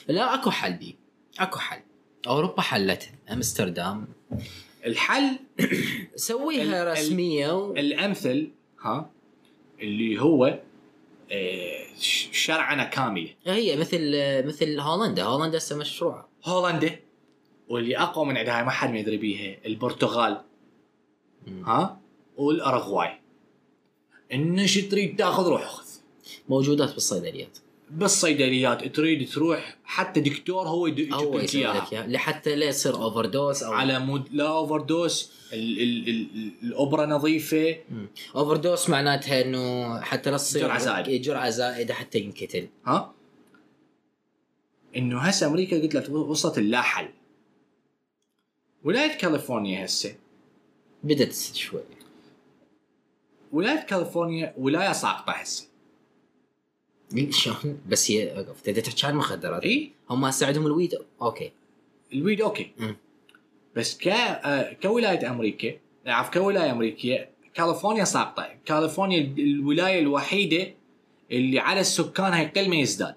Speaker 2: لا اكو حل دي اكو حل اوروبا حلتها امستردام
Speaker 1: الحل
Speaker 2: سويها
Speaker 1: ال- ال-
Speaker 2: رسميه و...
Speaker 1: الامثل ها اللي هو آه، ش- شرعنه كامله
Speaker 2: هي مثل مثل هولندا هولندا هسه مشروعه
Speaker 1: هولندا واللي اقوى من عندها ما حد ما يدري بيها البرتغال ها والاراغواي انه شو تريد تاخذ روح اخذ
Speaker 2: موجودات بالصيدليات
Speaker 1: بالصيدليات تريد تروح حتى دكتور هو يد- يجيب
Speaker 2: او
Speaker 1: لك
Speaker 2: يسوي
Speaker 1: اياها
Speaker 2: لك اياها لحتى لا يصير اوفر دوز او
Speaker 1: على مود لا اوفر دوز ال- ال- ال- الاوبرا نظيفه
Speaker 2: اوفر دوز معناتها انه حتى لا تصير
Speaker 1: جرعة زائدة.
Speaker 2: جرعه زائده حتى ينقتل
Speaker 1: ها انه هسه امريكا قلت لك وصلت اللا حل ولايه كاليفورنيا هسه
Speaker 2: بدت شوي
Speaker 1: ولايه كاليفورنيا ولايه ساقطه هسه
Speaker 2: إيه، شلون بس هي وقف تبدا تحكي عن المخدرات
Speaker 1: اي
Speaker 2: هم هسه عندهم الويد اوكي
Speaker 1: الويد اوكي
Speaker 2: مم.
Speaker 1: بس ك آه، كولايه امريكا عفوا كولايه امريكيه كاليفورنيا ساقطه كاليفورنيا الولايه الوحيده اللي على سكانها يقل ما يزداد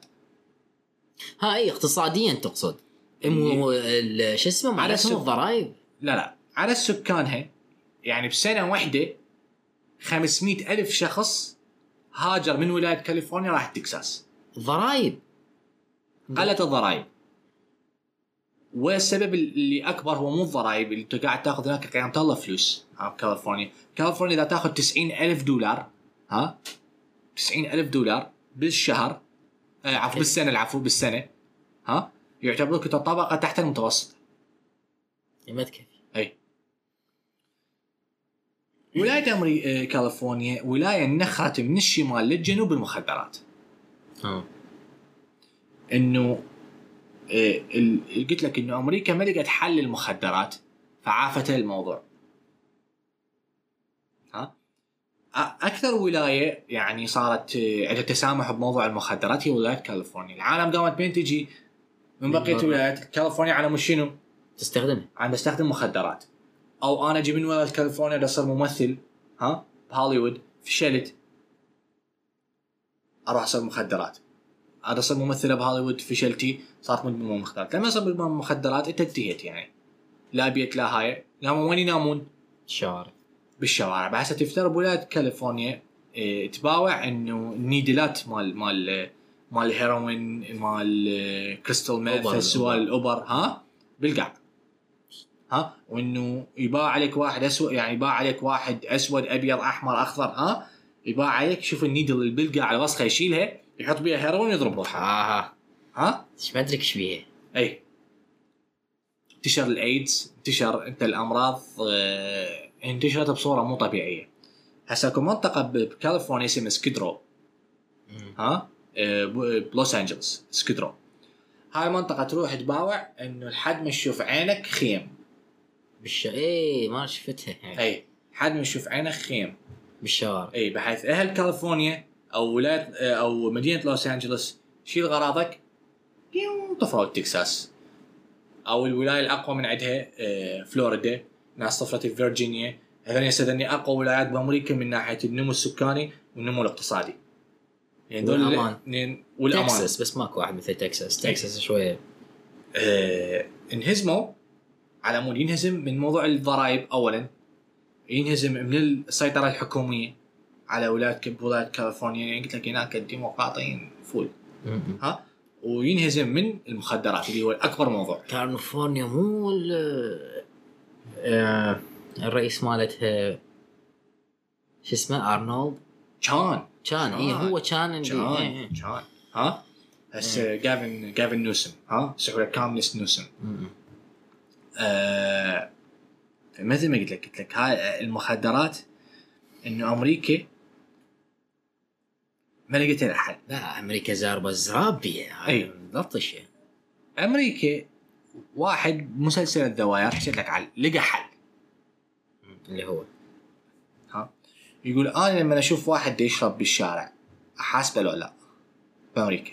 Speaker 2: ها اي اقتصاديا تقصد إيه،
Speaker 1: إيه.
Speaker 2: مو ال- شو اسمه مالتهم
Speaker 1: السوق.
Speaker 2: الضرائب
Speaker 1: لا لا على سكانها يعني بسنة واحدة 500 ألف شخص هاجر من ولاية كاليفورنيا راح تكساس
Speaker 2: ضرائب
Speaker 1: قلت الضرائب والسبب اللي أكبر هو مو الضرائب اللي أنت قاعد تاخذ هناك قيمة الله فلوس ها بكاليفورنيا كاليفورنيا إذا تاخذ 90 ألف دولار ها 90 ألف دولار بالشهر آه عفوا بالسنة العفو بالسنة ها يعتبرك أنت طبقة تحت المتوسط
Speaker 2: ما تكفي
Speaker 1: ولايه امري آه، كاليفورنيا ولايه نخرت من الشمال للجنوب المخدرات
Speaker 2: اه
Speaker 1: انه آه، ال- قلت لك انه امريكا ما لقت حل المخدرات فعافت الموضوع ها أ- اكثر ولايه يعني صارت آه، عندها تسامح بموضوع المخدرات هي ولايه كاليفورنيا العالم قامت بين تجي من
Speaker 2: من
Speaker 1: بقيه
Speaker 2: برا.
Speaker 1: ولايات كاليفورنيا على مش شنو
Speaker 2: تستخدمها
Speaker 1: عم بستخدم مخدرات او انا اجي من ولايه كاليفورنيا بدي اصير ممثل ها بهوليوود فشلت اروح اصير مخدرات انا اصير ممثله بهوليوود فشلتي صارت مدمنه مخدرات لما اصير مدمنه مخدرات انت انتهيت يعني لا بيت لا هاي قاموا وين ينامون
Speaker 2: شارع
Speaker 1: بالشوارع بحسها تفتر بولايه كاليفورنيا إيه تباوع انه النيدلات مال مال مال الهيروين مال إيه، كريستال ميث
Speaker 2: أوبر.
Speaker 1: السوال الاوبر ها بالقاع ها وانه يباع عليك واحد اسود يعني يباع عليك واحد اسود ابيض احمر اخضر ها يباع عليك شوف النيدل اللي بالقاع على وسخه يشيلها يحط بيها هيروين يضرب روحه
Speaker 2: اها
Speaker 1: ها
Speaker 2: ما ادري ايش بيها
Speaker 1: اي انتشر الايدز انتشر انت الامراض آه، انتشرت بصوره مو طبيعيه هسه اكو منطقه ب- بكاليفورنيا اسمها سكيدرو ها آه، ب- بلوس انجلوس سكيدرو هاي منطقه تروح تباوع انه لحد ما تشوف عينك خيم
Speaker 2: بالش ايه ما شفتها يعني.
Speaker 1: اي لحد ما تشوف عينك خيم
Speaker 2: بالشوارع
Speaker 1: اي إيه، بحيث اهل كاليفورنيا او ولايه آه، او مدينه لوس انجلوس شيل غراضك يو، طفروا تكساس او الولايه الاقوى من عندها آه، فلوريدا ناس طفرت فيرجينيا هذول صدقني اقوى ولايات بامريكا من ناحيه النمو السكاني والنمو الاقتصادي يعني دول-
Speaker 2: والأمان.
Speaker 1: لأن- والامان
Speaker 2: تكساس بس ماكو واحد مثل تكساس تكساس شويه
Speaker 1: آه، انهزموا على مود ينهزم من موضوع الضرائب اولا ينهزم من السيطره الحكوميه على ولايه ولايه كاليفورنيا يعني قلت لك هناك الديمقراطيين فول ها وينهزم من المخدرات اللي هو اكبر موضوع
Speaker 2: كاليفورنيا مو ال- آه، الرئيس مالتها شو اسمه ارنولد
Speaker 1: كان
Speaker 2: كان اي
Speaker 1: كان.
Speaker 2: هو كان اللي- إيه،
Speaker 1: كان
Speaker 2: إيه.
Speaker 1: كان ها هسه جافن جافن نوسم ها سحوله كامنس نوسم
Speaker 2: مم.
Speaker 1: آه، مثل ما قلت لك قلت لك هاي المخدرات انه امريكا ما لقيت لها حل
Speaker 2: لا امريكا زاربه زرابيه
Speaker 1: أي.
Speaker 2: لطشه
Speaker 1: امريكا واحد مسلسل الدواير حكيت لك على لقى حل
Speaker 2: اللي هو
Speaker 1: ها يقول انا لما اشوف واحد يشرب بالشارع احاسبه لو لا بامريكا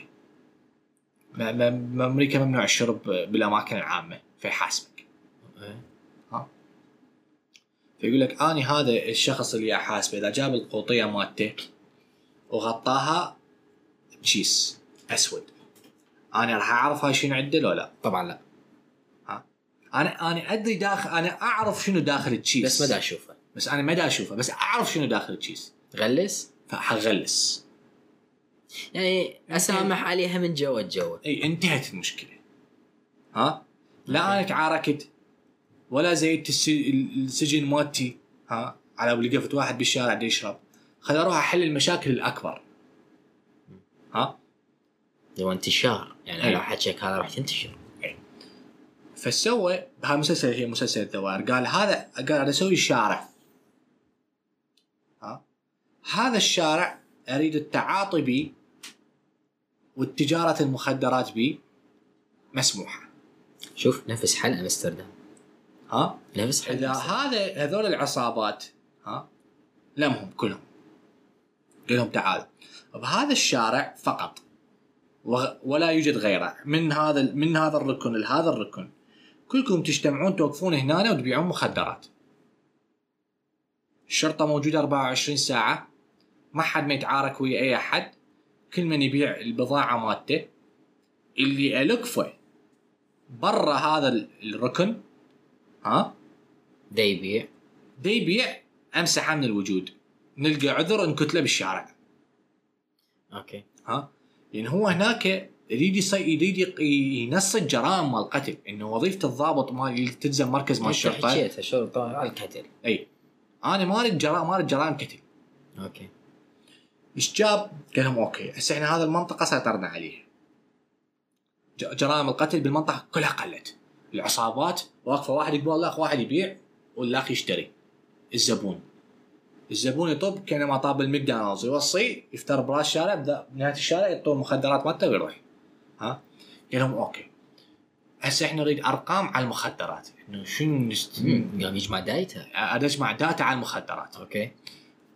Speaker 1: ما- ما- بامريكا ممنوع الشرب بالاماكن العامه فيحاسبك
Speaker 2: إيه.
Speaker 1: فيقول لك اني هذا الشخص اللي احاسبه اذا جاب القوطيه مالته وغطاها بشيس اسود انا راح اعرف هاي شنو عنده لو لا
Speaker 2: طبعا لا
Speaker 1: انا انا ادري داخل انا اعرف شنو داخل التشيس
Speaker 2: بس ما دا اشوفه
Speaker 1: بس انا ما دا اشوفه بس اعرف شنو داخل التشيس
Speaker 2: غلس
Speaker 1: فحغلس
Speaker 2: يعني اسامح عليها من جوا لجوا
Speaker 1: اي انتهت المشكله ها لا انا تعاركت ولا زيدت الس- السجن مالتي ها على وقفت واحد بالشارع دا يشرب خل اروح احل المشاكل الاكبر ها
Speaker 2: لو انتشار يعني
Speaker 1: إيه.
Speaker 2: لو حكيك هذا راح تنتشر
Speaker 1: فسوى بها مسلسل هي مسلسل الدوائر قال هذا قال انا اسوي شارع ها هذا الشارع اريد التعاطي بي والتجاره المخدرات بي مسموحه
Speaker 2: شوف نفس حل امستردام
Speaker 1: ها
Speaker 2: نفس حل
Speaker 1: اذا
Speaker 2: أمستردام.
Speaker 1: هذا هذول العصابات ها لمهم كلهم قال لهم تعال بهذا الشارع فقط وغ- ولا يوجد غيره من هذا ال- من هذا الركن لهذا الركن كلكم تجتمعون توقفون هنا وتبيعون مخدرات الشرطة موجودة 24 ساعة ما حد ما يتعارك ويا أي أحد كل من يبيع البضاعة مالته اللي ألقفه برا هذا ال- الركن ها
Speaker 2: دا يبيع
Speaker 1: دا يبيع امسحه من الوجود نلقى عذر نكتله بالشارع
Speaker 2: اوكي
Speaker 1: ها لان هو هناك يريد يصي- يريد يق- ينصت جرائم مال القتل انه وظيفه الضابط مال اللي تلزم مركز مال
Speaker 2: انت
Speaker 1: الشرطه
Speaker 2: حكيتها شرطه على القتل
Speaker 1: اي انا ما اريد جرائم ما اريد جرائم قتل
Speaker 2: اوكي
Speaker 1: ايش جاب؟ قال لهم اوكي هسه احنا هذا المنطقه سيطرنا عليها ج- جرائم القتل بالمنطقه كلها قلت العصابات واقفه واحد يقبل الاخ واحد يبيع والاخ يشتري الزبون الزبون يطب كانما طاب الماكدونالدز يوصي يفتر براس الشارع بدا- بنهايه الشارع يطول مخدرات مالته ويروح ها قال لهم اوكي هسه احنا نريد ارقام على المخدرات انه شنو نست...
Speaker 2: قام يجمع دايته
Speaker 1: اجمع داتا على المخدرات
Speaker 2: اوكي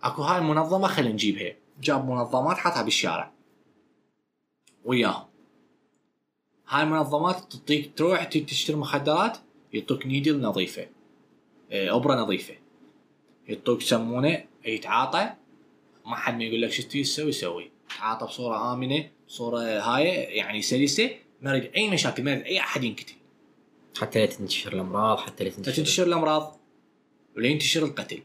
Speaker 1: اكو هاي المنظمه خلينا نجيبها جاب منظمات حطها بالشارع وياهم هاي المنظمات تعطيك تروح تي- تشتري مخدرات يعطوك نيدل نظيفه آه، ابره نظيفه يعطوك سمونه يتعاطى ما حد ما يقول لك شو تسوي سوي سوي تعاطى بصوره امنه بصوره هاي يعني سلسه ما اريد اي مشاكل ما اريد اي احد ينقتل
Speaker 2: حتى لا تنتشر الامراض حتى لا تنتشر
Speaker 1: تنتشر الامراض ولين ينتشر القتل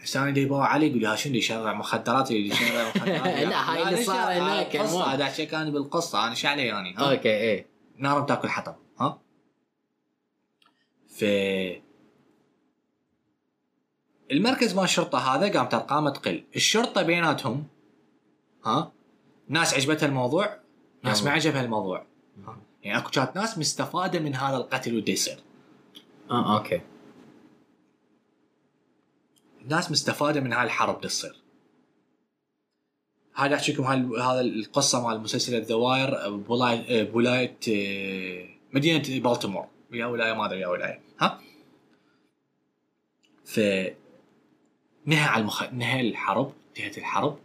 Speaker 1: حسان اللي يباوع علي يقول ها شنو اللي يشرع مخدرات اللي يشرع مخدرات
Speaker 2: لا، هاي اللي
Speaker 1: ليش
Speaker 2: صار
Speaker 1: لا؟
Speaker 2: هناك
Speaker 1: قصه
Speaker 2: أنواع.
Speaker 1: هذا شيء كان بالقصه انا شو علي يعني ها؟
Speaker 2: اوكي ايه
Speaker 1: نار بتاكل حطب ها ف المركز مال الشرطه هذا قامت ارقامه تقل الشرطه بيناتهم ها ناس عجبتها الموضوع ناس ما
Speaker 2: يلا.
Speaker 1: عجبها الموضوع يعني اكو كانت ناس مستفاده من هذا القتل اللي يصير
Speaker 2: اه اوكي
Speaker 1: الناس مستفاده من هاي الحرب اللي تصير. هذا احكي لكم هاي هذا القصه مال مسلسل أه، الدوائر بولايه بولايه آه، مدينه بالتمور ويا ولايه ما ادري ويا ولايه ها ف نهى على المخ... نهى الحرب انتهت الحرب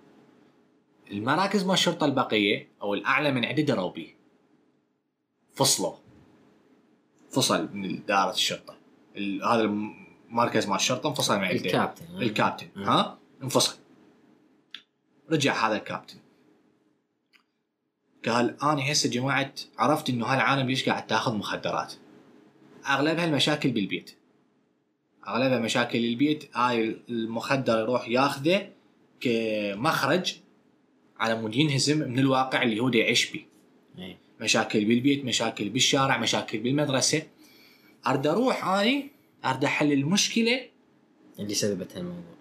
Speaker 1: المراكز مال الشرطه البقيه او الاعلى من عده دروا بيه فصلوا فصل من دائره الشرطه ال- هذا المركز مال الشرطه انفصل من عده
Speaker 2: الكابتن آه.
Speaker 1: الكابتن
Speaker 2: مم.
Speaker 1: ها انفصل رجع هذا الكابتن قال انا هسه جماعه عرفت انه هالعالم ليش قاعد تاخذ مخدرات اغلبها المشاكل بالبيت اغلبها مشاكل البيت هاي المخدر يروح ياخذه كمخرج على مود ينهزم من الواقع اللي هو دا يعيش بيه
Speaker 2: إيه.
Speaker 1: مشاكل بالبيت مشاكل بالشارع مشاكل بالمدرسه ارد اروح اني ارد احل المشكله
Speaker 2: اللي سببت هالموضوع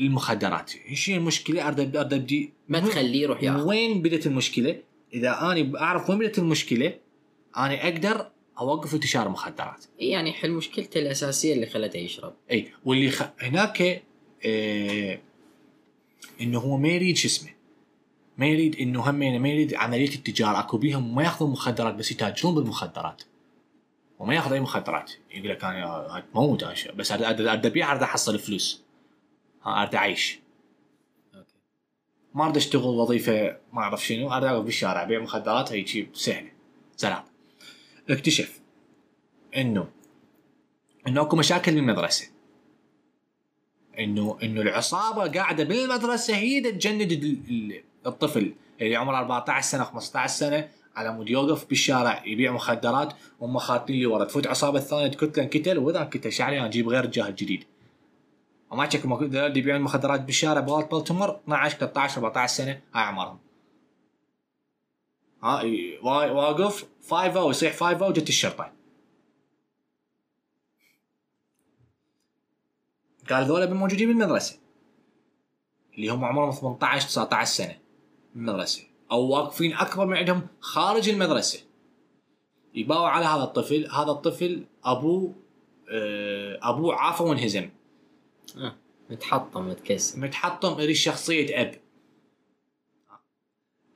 Speaker 1: المخدرات شنو المشكله ارد ارد ابدي
Speaker 2: ما تخليه يروح ياخذ
Speaker 1: وين بدت المشكله اذا انا اعرف وين بدت المشكله انا اقدر اوقف انتشار المخدرات
Speaker 2: يعني حل مشكلته الاساسيه اللي خلته يشرب
Speaker 1: اي إيه، واللي خ... هناك آه... انه هو ما يريد شو اسمه ما يريد انه هم ما يريد عمليه التجاره اكو بيهم ما ياخذون مخدرات بس يتاجرون بالمخدرات وما ياخذ اي مخدرات يقول لك انا تموت بس أرد- أرد- ارد ابيع ارد احصل فلوس ها اريد اعيش
Speaker 2: اوكي
Speaker 1: ما اريد اشتغل وظيفه ما اعرف شنو اريد اقف بالشارع ابيع مخدرات هيجي سهله سلام اكتشف انه انه اكو مشاكل بالمدرسه انه انه العصابه قاعده بالمدرسه هي دا تجند ال- ال- الطفل اللي عمره 14 سنه 15 سنه على مود يوقف بالشارع يبيع مخدرات وهم خاطين لي ورا تفوت عصابه ثانيه تقتل انقتل واذا انقتل شعلي اجيب غير جاهل جديد وما تشك مك- ذول اللي يبيعون مخدرات بالشارع بوقت بلتمر 12 13 14 سنه هاي اعمارهم ها ي- وا- واقف oh، فايفا ويصيح فايفا وجت الشرطه قال ذولا موجودين بالمدرسه اللي هم عمرهم 18 19 سنه بالمدرسه او واقفين اكبر من عندهم خارج المدرسه يباوع على هذا الطفل هذا الطفل ابوه آه، ابوه عافى وانهزم
Speaker 2: آه. متحطم متكسر
Speaker 1: متحطم يريد شخصية أب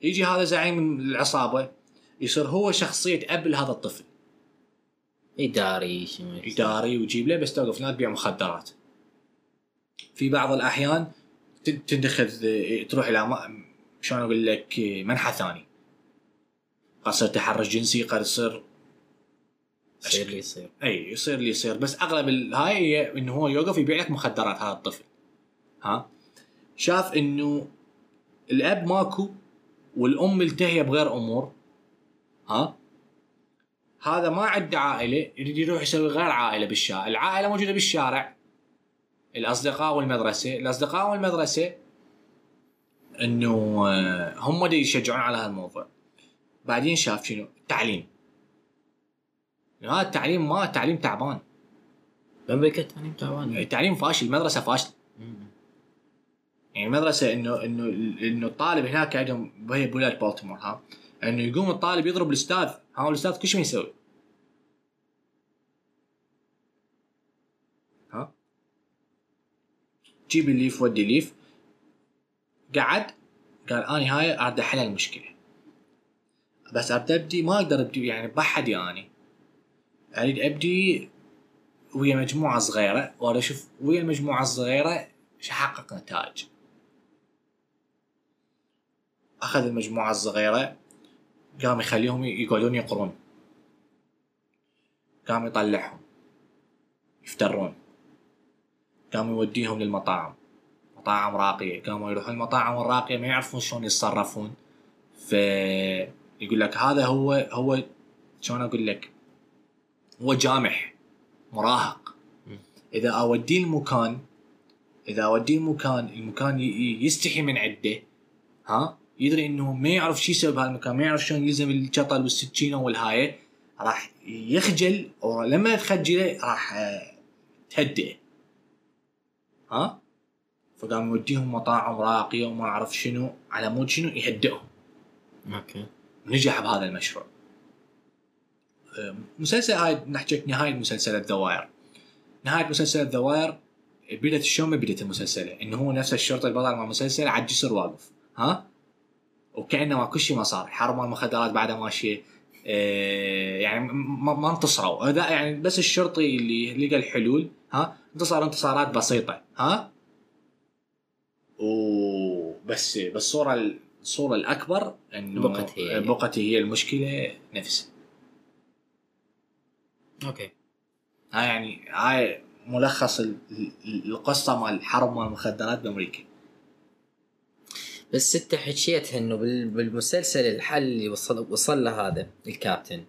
Speaker 1: يجي هذا زعيم العصابة يصير هو شخصية أب لهذا الطفل
Speaker 2: اداري شنو
Speaker 1: إداري ويجيب له بس توقف لا تبيع مخدرات في بعض الأحيان ت- تندخل اه، تروح إلى ما- شلون أقول لك اه، منحى ثاني قد يصير تحرش جنسي قد يصير
Speaker 2: يصير اللي يصير
Speaker 1: اي يصير اللي يصير بس اغلب ال- هاي هي انه هو يوقف يبيع لك مخدرات هذا الطفل ها شاف انه الاب ماكو والام ملتهيه بغير امور ها هذا ما عنده عائله يريد يروح يسوي غير عائله بالشارع العائله موجوده بالشارع الاصدقاء والمدرسه الاصدقاء والمدرسه انه آه، هم اللي يشجعون على هالموضوع بعدين شاف شنو التعليم هذا التعليم ما تعليم تعبان
Speaker 2: بامريكا تعليم تعبان
Speaker 1: التعليم فاشل المدرسه فاشل
Speaker 2: مم.
Speaker 1: يعني المدرسه انه انه انه الطالب هناك عندهم وهي بولايه بالتمور ها انه يقوم الطالب يضرب الاستاذ ها والاستاذ كل شيء ما يسوي ها جيب الليف ودي الليف قعد قال اني هاي اريد احل المشكله بس اريد ابدي ما اقدر ابدي يعني بحدي اني اريد ابدي ويا مجموعه صغيره واريد اشوف ويا المجموعه الصغيره ايش احقق نتائج اخذ المجموعه الصغيره قام يخليهم يقعدون يقرون قام يطلعهم يفترون قام يوديهم للمطاعم مطاعم راقيه قاموا يروحون المطاعم الراقيه ما يعرفون شلون يتصرفون فيقول لك هذا هو هو شلون اقول لك هو جامح مراهق
Speaker 2: مم.
Speaker 1: اذا اوديه المكان اذا اوديه المكان المكان ي- ي- يستحي من عده ها يدري انه ما يعرف شو يسوي بهالمكان ما يعرف شلون يلزم الشطل والسكينه والهايه راح يخجل ولما تخجله راح آه، تهدئه ها فقام يوديهم مطاعم راقيه وما اعرف شنو على مود شنو يهدئهم
Speaker 2: اوكي
Speaker 1: نجح بهذا المشروع أم، مسلسل هاي نحكيك نهاية مسلسل الدوائر نهاية مسلسل الدوائر بدت شلون ما بدت المسلسل انه هو نفس الشرطة البطل مع المسلسل على الجسر واقف ها وكأنه ما كل شيء ما صار حرب مال المخدرات بعدها ماشية إيه، يعني م- م- ما انتصروا هذا يعني بس الشرطي اللي لقى الحلول ها انتصر انتصارات بسيطة ها وبس بس الصورة الصورة الأكبر انه
Speaker 2: بقت هي.
Speaker 1: بقت هي المشكلة نفسها
Speaker 2: اوكي
Speaker 1: هاي يعني هاي ملخص ال- ال- القصه مال الحرب مال المخدرات بامريكا
Speaker 2: بس انت حكيتها انه بال- بالمسلسل الحل اللي وصل وصل له هذا الكابتن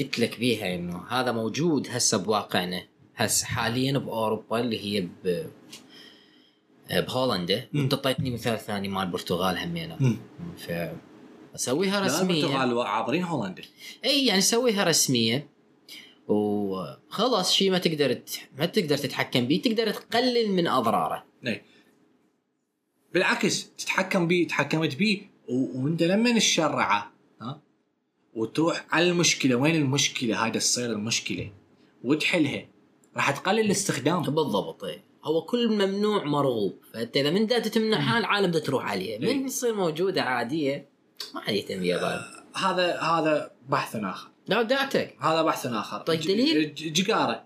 Speaker 2: قلت لك بيها انه هذا موجود هسه بواقعنا هسه حاليا باوروبا اللي هي ب بهولندا
Speaker 1: مم.
Speaker 2: وانت اعطيتني مثال ثاني مال البرتغال همينه ف اسويها
Speaker 1: لا
Speaker 2: رسميه
Speaker 1: البرتغال عابرين هولندا
Speaker 2: اي يعني سويها رسميه وخلاص شيء ما تقدر تح- ما تقدر تتحكم به تقدر تقلل من اضراره
Speaker 1: إيه. بالعكس تتحكم بيه تحكمت بيه و- وانت لما نشرعه ها وتروح على المشكله وين المشكله هاي تصير المشكله وتحلها راح تقلل الاستخدام
Speaker 2: بالضبط إيه. هو كل ممنوع مرغوب فانت اذا من بدات تمنعها العالم بدها تروح عليها
Speaker 1: إيه.
Speaker 2: من تصير موجوده عاديه إيه. ما عاد يهتم وياها بعد
Speaker 1: هذا هذا بحث اخر
Speaker 2: لا دعتك
Speaker 1: هذا بحث اخر
Speaker 2: طيب
Speaker 1: ج-
Speaker 2: دليل؟
Speaker 1: ج- جقاره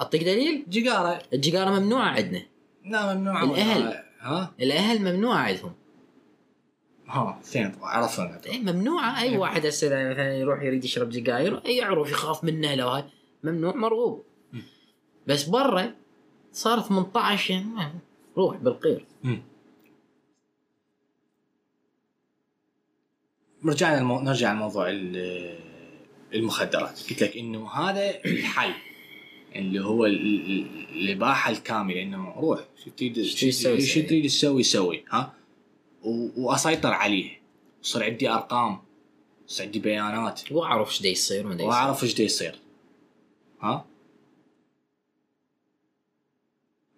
Speaker 2: اعطيك دليل
Speaker 1: جقاره
Speaker 2: الجقاره ممنوعه عندنا
Speaker 1: لا ممنوع
Speaker 2: الأهل.
Speaker 1: نعم، ها
Speaker 2: الاهل ممنوع عندهم
Speaker 1: ها اثنين طبعا عرفنا
Speaker 2: إيه ممنوعه اي
Speaker 1: إيه.
Speaker 2: واحد هسه إذا مثلا يروح يريد يشرب سجاير أي يعرف يخاف منه لو هاي ممنوع مرغوب
Speaker 1: مم.
Speaker 2: بس برا صار 18 يعني ما- روح بالقير
Speaker 1: مم. رجعنا المو... نرجع لموضوع ال- المخدرات قلت لك انه هذا الحل اللي هو ال- ال- ال- الاباحه الكامله انه روح شو تريد
Speaker 2: شو تريد تسوي
Speaker 1: شو
Speaker 2: سوي.
Speaker 1: تريد تسوي سوي ها و... واسيطر عليه يصير عندي ارقام يصير عندي بيانات
Speaker 2: واعرف ايش دا يصير وما دا يصير
Speaker 1: واعرف ايش دا يصير ها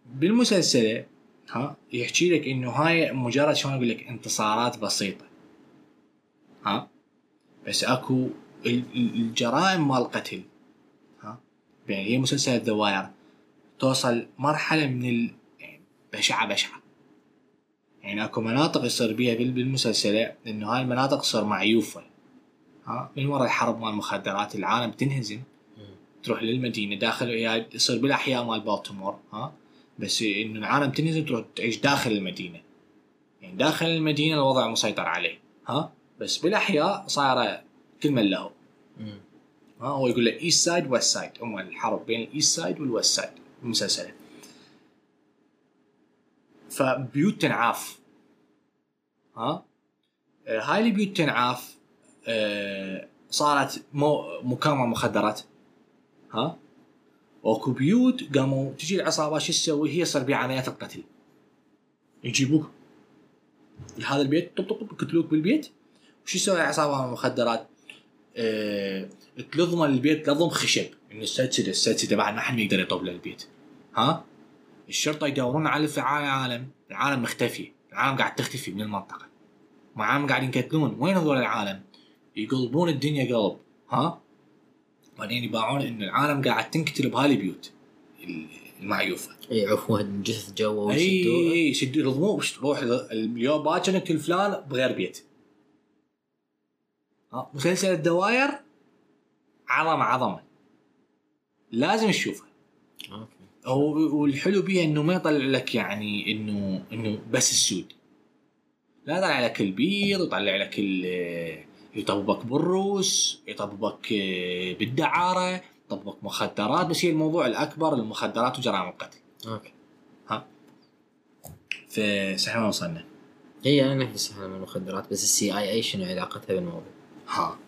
Speaker 1: بالمسلسل ها يحكي لك انه هاي مجرد شلون اقول لك انتصارات بسيطه ها بس اكو ال- ال- الجرائم مال القتل ها يعني هي مسلسل الدوائر توصل مرحله من ال يعني بشعه بشعه يعني اكو مناطق يصير بيها بال- بالمسلسل انه هاي المناطق تصير معيوفه ها من وراء الحرب مال المخدرات العالم تنهزم
Speaker 2: مم.
Speaker 1: تروح للمدينه داخل يعني يصير بالاحياء مال بالتمور ها بس انه العالم تنهزم تروح تعيش داخل المدينه يعني داخل المدينه الوضع مسيطر عليه ها بس بالاحياء صايره كل من له
Speaker 2: مم.
Speaker 1: ها هو يقول له ايست سايد ويست سايد هم الحرب بين الايست سايد والويست سايد المسلسل فبيوت تنعاف ها آه، هاي البيوت تنعاف آه، صارت مو مكامره مخدرات ها واكو بيوت قاموا تجي العصابات شو تسوي هي صار بيها عمليات القتل يجيبوك لهذا البيت طب طب طب يقتلوك بالبيت وشو يسوي العصابه مال المخدرات آه، تلضم البيت لضم خشب انه السلسله السلسله بعد ما حد يقدر يطوب للبيت ها الشرطه يدورون على فعال العالم العالم مختفي العالم قاعد تختفي من المنطقه معاهم قاعدين يقتلون وين هذول العالم يقلبون الدنيا قلب ها بعدين يباعون ان العالم قاعد تنقتل بهاي البيوت المعيوفه
Speaker 2: اي إيه، عفوا جث جوا
Speaker 1: اي
Speaker 2: ويشدوه
Speaker 1: اي شدوا يلضموه روح اليوم باكر نقتل فلان بغير بيت ها مسلسل الدواير عظمه عظمه لازم تشوفه
Speaker 2: أوكي.
Speaker 1: هو- والحلو بيها انه ما يطلع لك يعني انه انه بس السود لا يطلع لك البيض يطلع لك ال- يطبق بالروس يطبق آه، بالدعاره يطبق مخدرات بس هي الموضوع الاكبر المخدرات وجرائم القتل
Speaker 2: اوكي
Speaker 1: فسحنا وصلنا
Speaker 2: هي نفس من المخدرات بس السي اي اي شنو علاقتها بالموضوع؟
Speaker 1: ها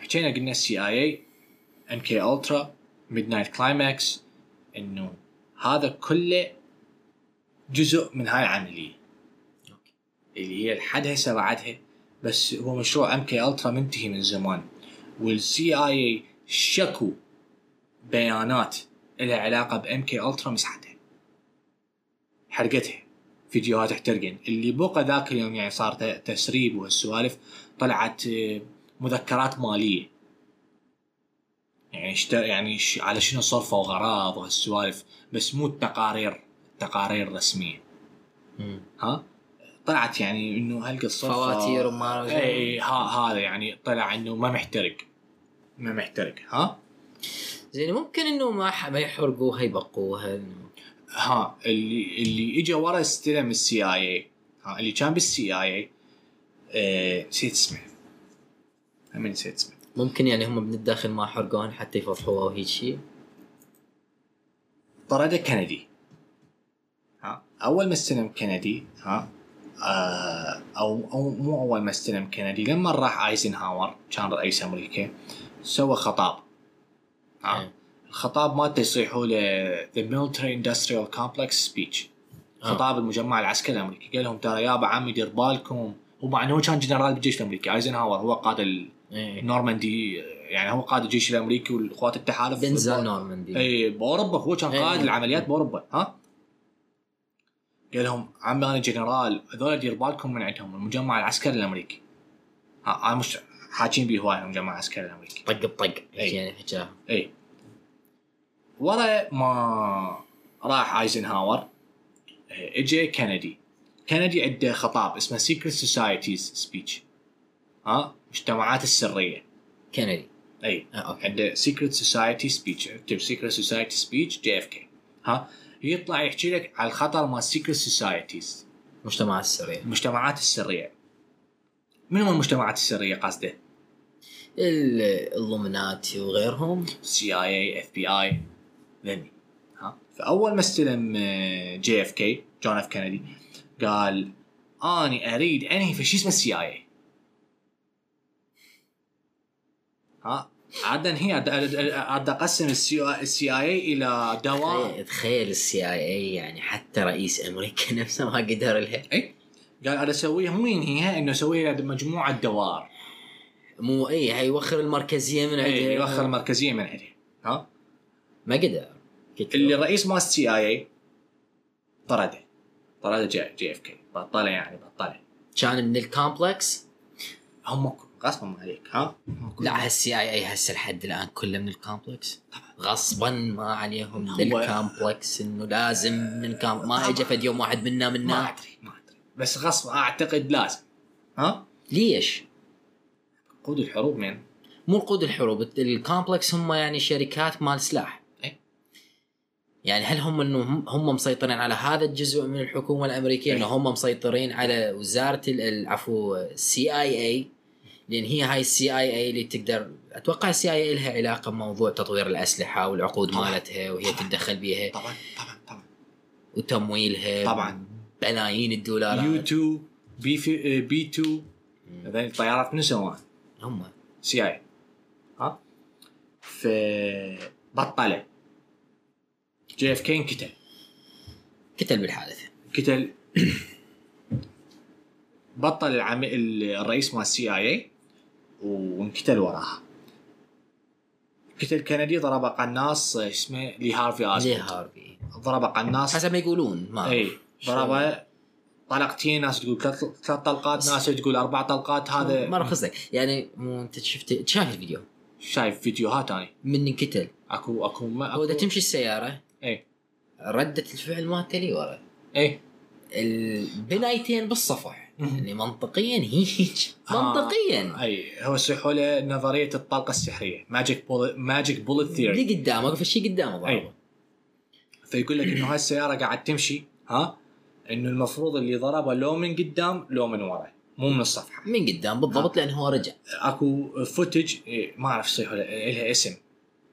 Speaker 1: حكينا قلنا السي اي اي ام كي الترا ميد نايت كلايماكس انه هذا كله جزء من هاي العمليه
Speaker 2: أوكي.
Speaker 1: اللي هي لحد هسه بعدها بس هو مشروع ام كي الترا منتهي من زمان والسي اي اي شكوا بيانات لها علاقه بام كي الترا مسحتها حرقتها فيديوهات احترقن اللي بقى ذاك اليوم يعني صار ت- تسريب وهالسوالف طلعت آه، مذكرات ماليه يعني شت... يعني ش... على شنو صرفوا غراض وهالسوالف بس مو التقارير تقارير رسميه
Speaker 2: مم.
Speaker 1: ها طلعت يعني انه هالقصه
Speaker 2: فواتير وما
Speaker 1: اي ها هذا يعني طلع انه ما محترق ما محترق ها
Speaker 2: زين ممكن انه ما ح- ما يحرقوها يبقوها إنه-
Speaker 1: ها اللي اللي اجى ورا استلم السي اي اي ها اللي كان بالسي اي اي نسيت اسمه هم نسيت اسمه
Speaker 2: ممكن يعني هم من الداخل ما حرقوهن حتى يفضحوها وهيج شيء
Speaker 1: طرده كندي ها اول ما استلم كندي ها آه، او او مو اول ما استلم كندي لما راح ايزنهاور كان رئيس امريكا سوى خطاب ها
Speaker 2: إيه.
Speaker 1: الخطاب مالته يصيحوا له ذا ميلتري اندستريال كومبلكس سبيتش
Speaker 2: آه.
Speaker 1: خطاب المجمع العسكري الامريكي قال لهم ترى يابا عمي دير بالكم ومع انه هو كان جنرال بالجيش الامريكي ايزنهاور هو قاد ال-
Speaker 2: إيه.
Speaker 1: النورماندي يعني هو قاد الجيش الامريكي والقوات التحالف
Speaker 2: دنزل نورماندي
Speaker 1: اي باوروبا إيه، هو كان قائد
Speaker 2: إيه.
Speaker 1: العمليات باوروبا ها قال لهم عمي انا جنرال هذول دير بالكم من عندهم المجمع العسكري الامريكي ها انا مش حاكين بيه هواي يعني المجمع العسكري الامريكي
Speaker 2: طق بطق
Speaker 1: إيه.
Speaker 2: يعني حكاها
Speaker 1: اي ورا ما راح ايزنهاور آه، اجى كندي كندي عنده خطاب اسمه سيكريت سوسايتيز سبيتش ها مجتمعات إيه. السريه
Speaker 2: كندي
Speaker 1: اي
Speaker 2: آه، اوكي
Speaker 1: uh, عنده سيكريت سوسايتي سبيتش اكتب سيكريت سوسايتي سبيتش جي اف كي ها يطلع يحكي لك على الخطر مال سيكريت سوسايتيز
Speaker 2: المجتمع السري
Speaker 1: المجتمعات السريه من هم المجتمعات السريه قصده؟
Speaker 2: اللومناتي وغيرهم
Speaker 1: سي اي اي اف بي اي ذني ها فاول ما استلم آه، جي اف كي جون اف كندي قال اني اريد انهي في شو اسمه السي اي اي ها عادا هي عاد- عاد عاد اقسم السي اي اي الى دوائر
Speaker 2: تخيل- تخيل السي اي اي يعني حتى رئيس امريكا نفسه ما قدر لها
Speaker 1: اي إيه؟ قال انا اسويها مو ينهيها انه اسويها مجموعه دوائر
Speaker 2: مو اي حيوخر المركزيه من عنده
Speaker 1: اي يوخر المركزيه يعني من عندها ها
Speaker 2: ما قدر قلت
Speaker 1: اللي
Speaker 2: له،
Speaker 1: الرئيس مال السي اي اي طرده طرده جي, جي اف كي بطله يعني بطله
Speaker 2: كان من الكومبلكس
Speaker 1: هم غصبا عليك ها
Speaker 2: لا هالسي اي اي هسه لحد الان كله من الكومبلكس غصبا ما عليهم من
Speaker 1: هو-
Speaker 2: الكومبلكس انه لازم من كام ما
Speaker 1: طبعاً.
Speaker 2: اجى فد يوم واحد منا
Speaker 1: ما
Speaker 2: منا
Speaker 1: ادري ما ادري بس غصب اعتقد لازم ها
Speaker 2: ليش؟
Speaker 1: قود الحروب من
Speaker 2: مو رقود الحروب الكومبلكس هم يعني شركات مال سلاح
Speaker 1: إيه.
Speaker 2: يعني هل هم انه هم- هم مسيطرين على هذا الجزء من الحكومه الامريكيه انه
Speaker 1: إيه.
Speaker 2: هم مسيطرين على وزاره ال- ال- عفوا السي اي اي لان هي هاي السي اي اي اللي تقدر اتوقع السي اي اي لها علاقه بموضوع تطوير الاسلحه والعقود
Speaker 1: طبعاً.
Speaker 2: مالتها وهي
Speaker 1: طبعاً.
Speaker 2: تتدخل بيها
Speaker 1: طبعا طبعا طبعا
Speaker 2: وتمويلها
Speaker 1: طبعاً.
Speaker 2: بلايين الدولارات
Speaker 1: يو 2 بي في بي 2 هذين الطيارات من سواها
Speaker 2: هم
Speaker 1: سي اي ها ف بطله جي اف كي انقتل
Speaker 2: قتل بالحادثه
Speaker 1: قتل بطل العم... الرئيس مال السي اي اي وانقتل وراها قتل كندي ضرب قناص آه، اسمه لي هارفي
Speaker 2: زي
Speaker 1: ازموند
Speaker 2: هارفي
Speaker 1: ضرب قناص
Speaker 2: حسب ما يقولون ما أعرف.
Speaker 1: اي ضربه طلقتين ناس تقول ثلاث ثلاث طلقات ناس تقول اربع طلقات
Speaker 2: ما
Speaker 1: هذا
Speaker 2: رخص لك يعني مو انت شفت شايف الفيديو
Speaker 1: شايف فيديوهات اني
Speaker 2: من انقتل
Speaker 1: اكو اكو ما
Speaker 2: هو
Speaker 1: اكو
Speaker 2: اذا تمشي السياره
Speaker 1: اي
Speaker 2: رده الفعل مالته لي ورا
Speaker 1: اي
Speaker 2: البنايتين بالصفح
Speaker 1: مم.
Speaker 2: يعني منطقيا هيج
Speaker 1: آه.
Speaker 2: منطقيا
Speaker 1: اي هو حوله نظريه الطلقه السحريه ماجيك بول ماجيك بولت ثيوري
Speaker 2: اللي قدامك فشي قدامه
Speaker 1: أي.
Speaker 2: ضربه
Speaker 1: فيقول لك انه هالسياره قاعد تمشي ها انه المفروض اللي ضربه لو من قدام لو من ورا مو من الصفحه
Speaker 2: من قدام
Speaker 1: آه.
Speaker 2: بالضبط لان هو رجع
Speaker 1: اكو فوتج إيه، ما اعرف صحيح ولا لها اسم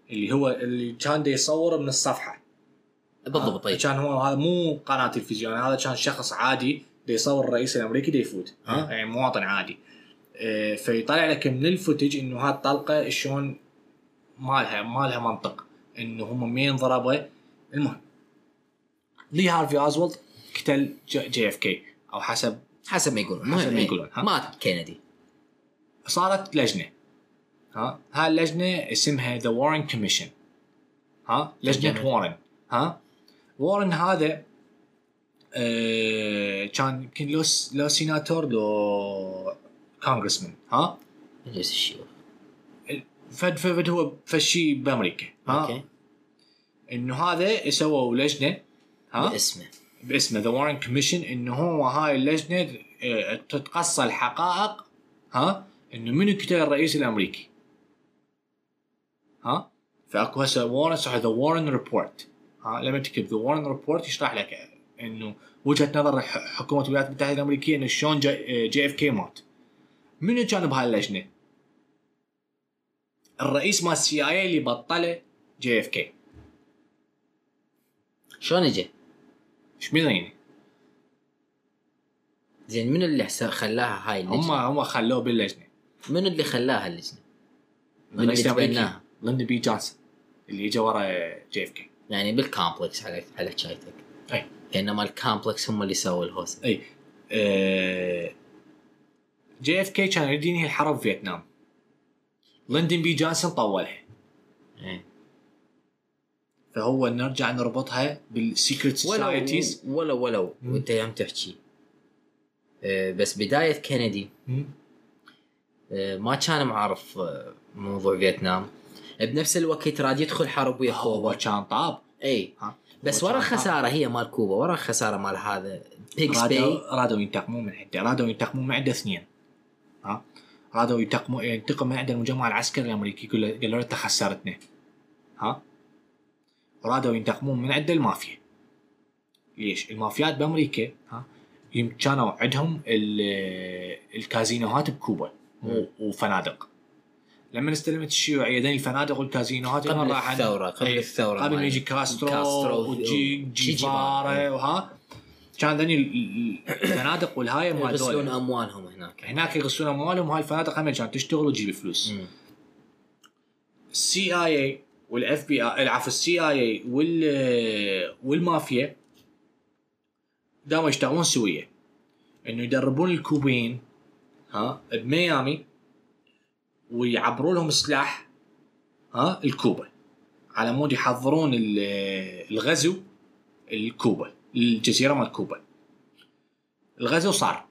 Speaker 1: اللي هو اللي كان دا يصور من الصفحه
Speaker 2: بالضبط
Speaker 1: ها؟
Speaker 2: طيب
Speaker 1: كان هو هذا مو قناه تلفزيون هذا كان شخص عادي دا يصور الرئيس الامريكي دا يفوت ها
Speaker 2: ها.
Speaker 1: يعني مواطن عادي إيه، فيطلع لك من الفوتج انه هالطلقه شلون مالها مالها منطق انه هم مين ضربه المهم لي هارفي ازولد قتل جي اف كي او حسب
Speaker 2: حسب ما يقولون
Speaker 1: حسب
Speaker 2: المهم،
Speaker 1: ما
Speaker 2: أي.
Speaker 1: يقولون، ها.
Speaker 2: مات كينيدي
Speaker 1: صارت لجنه ها هاي اللجنه اسمها ذا وارن كوميشن ها لجنه
Speaker 2: جميل.
Speaker 1: وارن ها وارن هذا آه كان يمكن لو س- لو سيناتور لو كونغرسمان ها
Speaker 2: مجلس الشيوخ
Speaker 1: فد فد هو فشي بامريكا ها
Speaker 2: اوكي
Speaker 1: انه هذا سووا لجنه ها
Speaker 2: باسمه
Speaker 1: باسمه ذا وارن كوميشن انه هو هاي اللجنه آه، تتقصى الحقائق ها انه منو قتل الرئيس الامريكي ها فاكو هسه وارن صح ذا وارن ريبورت ها لما تكتب ذا وارن ريبورت يشرح لك آه، انه وجهه نظر ح- حكومه الولايات المتحده الامريكيه انه شلون آه، جي اف كي مات منو كان بهاي اللجنه؟ الرئيس مال السي اي اللي بطله جي اف كي
Speaker 2: شلون اجى؟
Speaker 1: ايش يعني؟
Speaker 2: زين منو اللي حس- خلاها هاي
Speaker 1: هم
Speaker 2: اللجنه؟
Speaker 1: هم خلوه باللجنه
Speaker 2: منو اللي خلاها اللجنه؟
Speaker 1: من
Speaker 2: اللي
Speaker 1: الامريكي
Speaker 2: تبناها؟
Speaker 1: لندن بي جونسون اللي اجى ورا جي اف كي
Speaker 2: يعني بالكومبلكس على على شايتك
Speaker 1: أي.
Speaker 2: كانما الكومبلكس هم اللي سووا الهوسه
Speaker 1: اي آه، جي اف كي كان يريد ينهي الحرب في فيتنام لندن بي جونسون طولها
Speaker 2: أي.
Speaker 1: فهو نرجع نربطها بالسيكريت
Speaker 2: ولو
Speaker 1: سوسايتيز
Speaker 2: ولو ولو
Speaker 1: مم.
Speaker 2: وانت يوم تحكي أه، بس بدايه كندي أه، ما كان معرف أه، موضوع فيتنام بنفس الوقت راد يدخل حرب ويا
Speaker 1: هو
Speaker 2: كوبا
Speaker 1: كان طاب
Speaker 2: اي
Speaker 1: ها؟
Speaker 2: بس
Speaker 1: هو
Speaker 2: ورا
Speaker 1: كان طاب.
Speaker 2: الخساره هي مال كوبا ورا الخساره مال هذا بيجز
Speaker 1: رادوا
Speaker 2: باي
Speaker 1: رادوا ينتقمون من عنده رادوا ينتقمون من عنده اثنين ها رادوا ينتقمون ينتقم من عنده المجمع العسكري الامريكي يقول له- قال له انت خسرتنا ها رادوا ينتقمون من عنده المافيا ليش؟ المافيات بامريكا ها يم- كانوا عندهم ال- الكازينوهات بكوبا
Speaker 2: مم.
Speaker 1: و- وفنادق لما استلمت الشيوعيه دين الفنادق والكازينوهات هنا
Speaker 2: قبل
Speaker 1: راحن-
Speaker 2: الثورة، قبل
Speaker 1: إيه،
Speaker 2: الثورة
Speaker 1: قبل ما
Speaker 2: مال-
Speaker 1: يجي كاسترو,
Speaker 2: كاسترو
Speaker 1: وجي
Speaker 2: وجي
Speaker 1: جيفارا
Speaker 2: جيفارا.
Speaker 1: وها كان ذني ال- ال- الفنادق
Speaker 2: Eh,
Speaker 1: والهاي ما
Speaker 2: يغسلون
Speaker 1: دول
Speaker 2: اموالهم هناك
Speaker 1: هناك يغسلون اموالهم وهاي الفنادق هم كانت تشتغل وتجيب فلوس
Speaker 2: مم.
Speaker 1: السي إيه اي اي والاف بي اي العفو إيه، السي اي اي وال والمافيا قاموا يشتغلون سويه انه يدربون الكوبيين ها بميامي ويعبروا لهم سلاح ها الكوبا على مود يحضرون ال- الغزو الكوبا الجزيره مال كوبا الغزو صار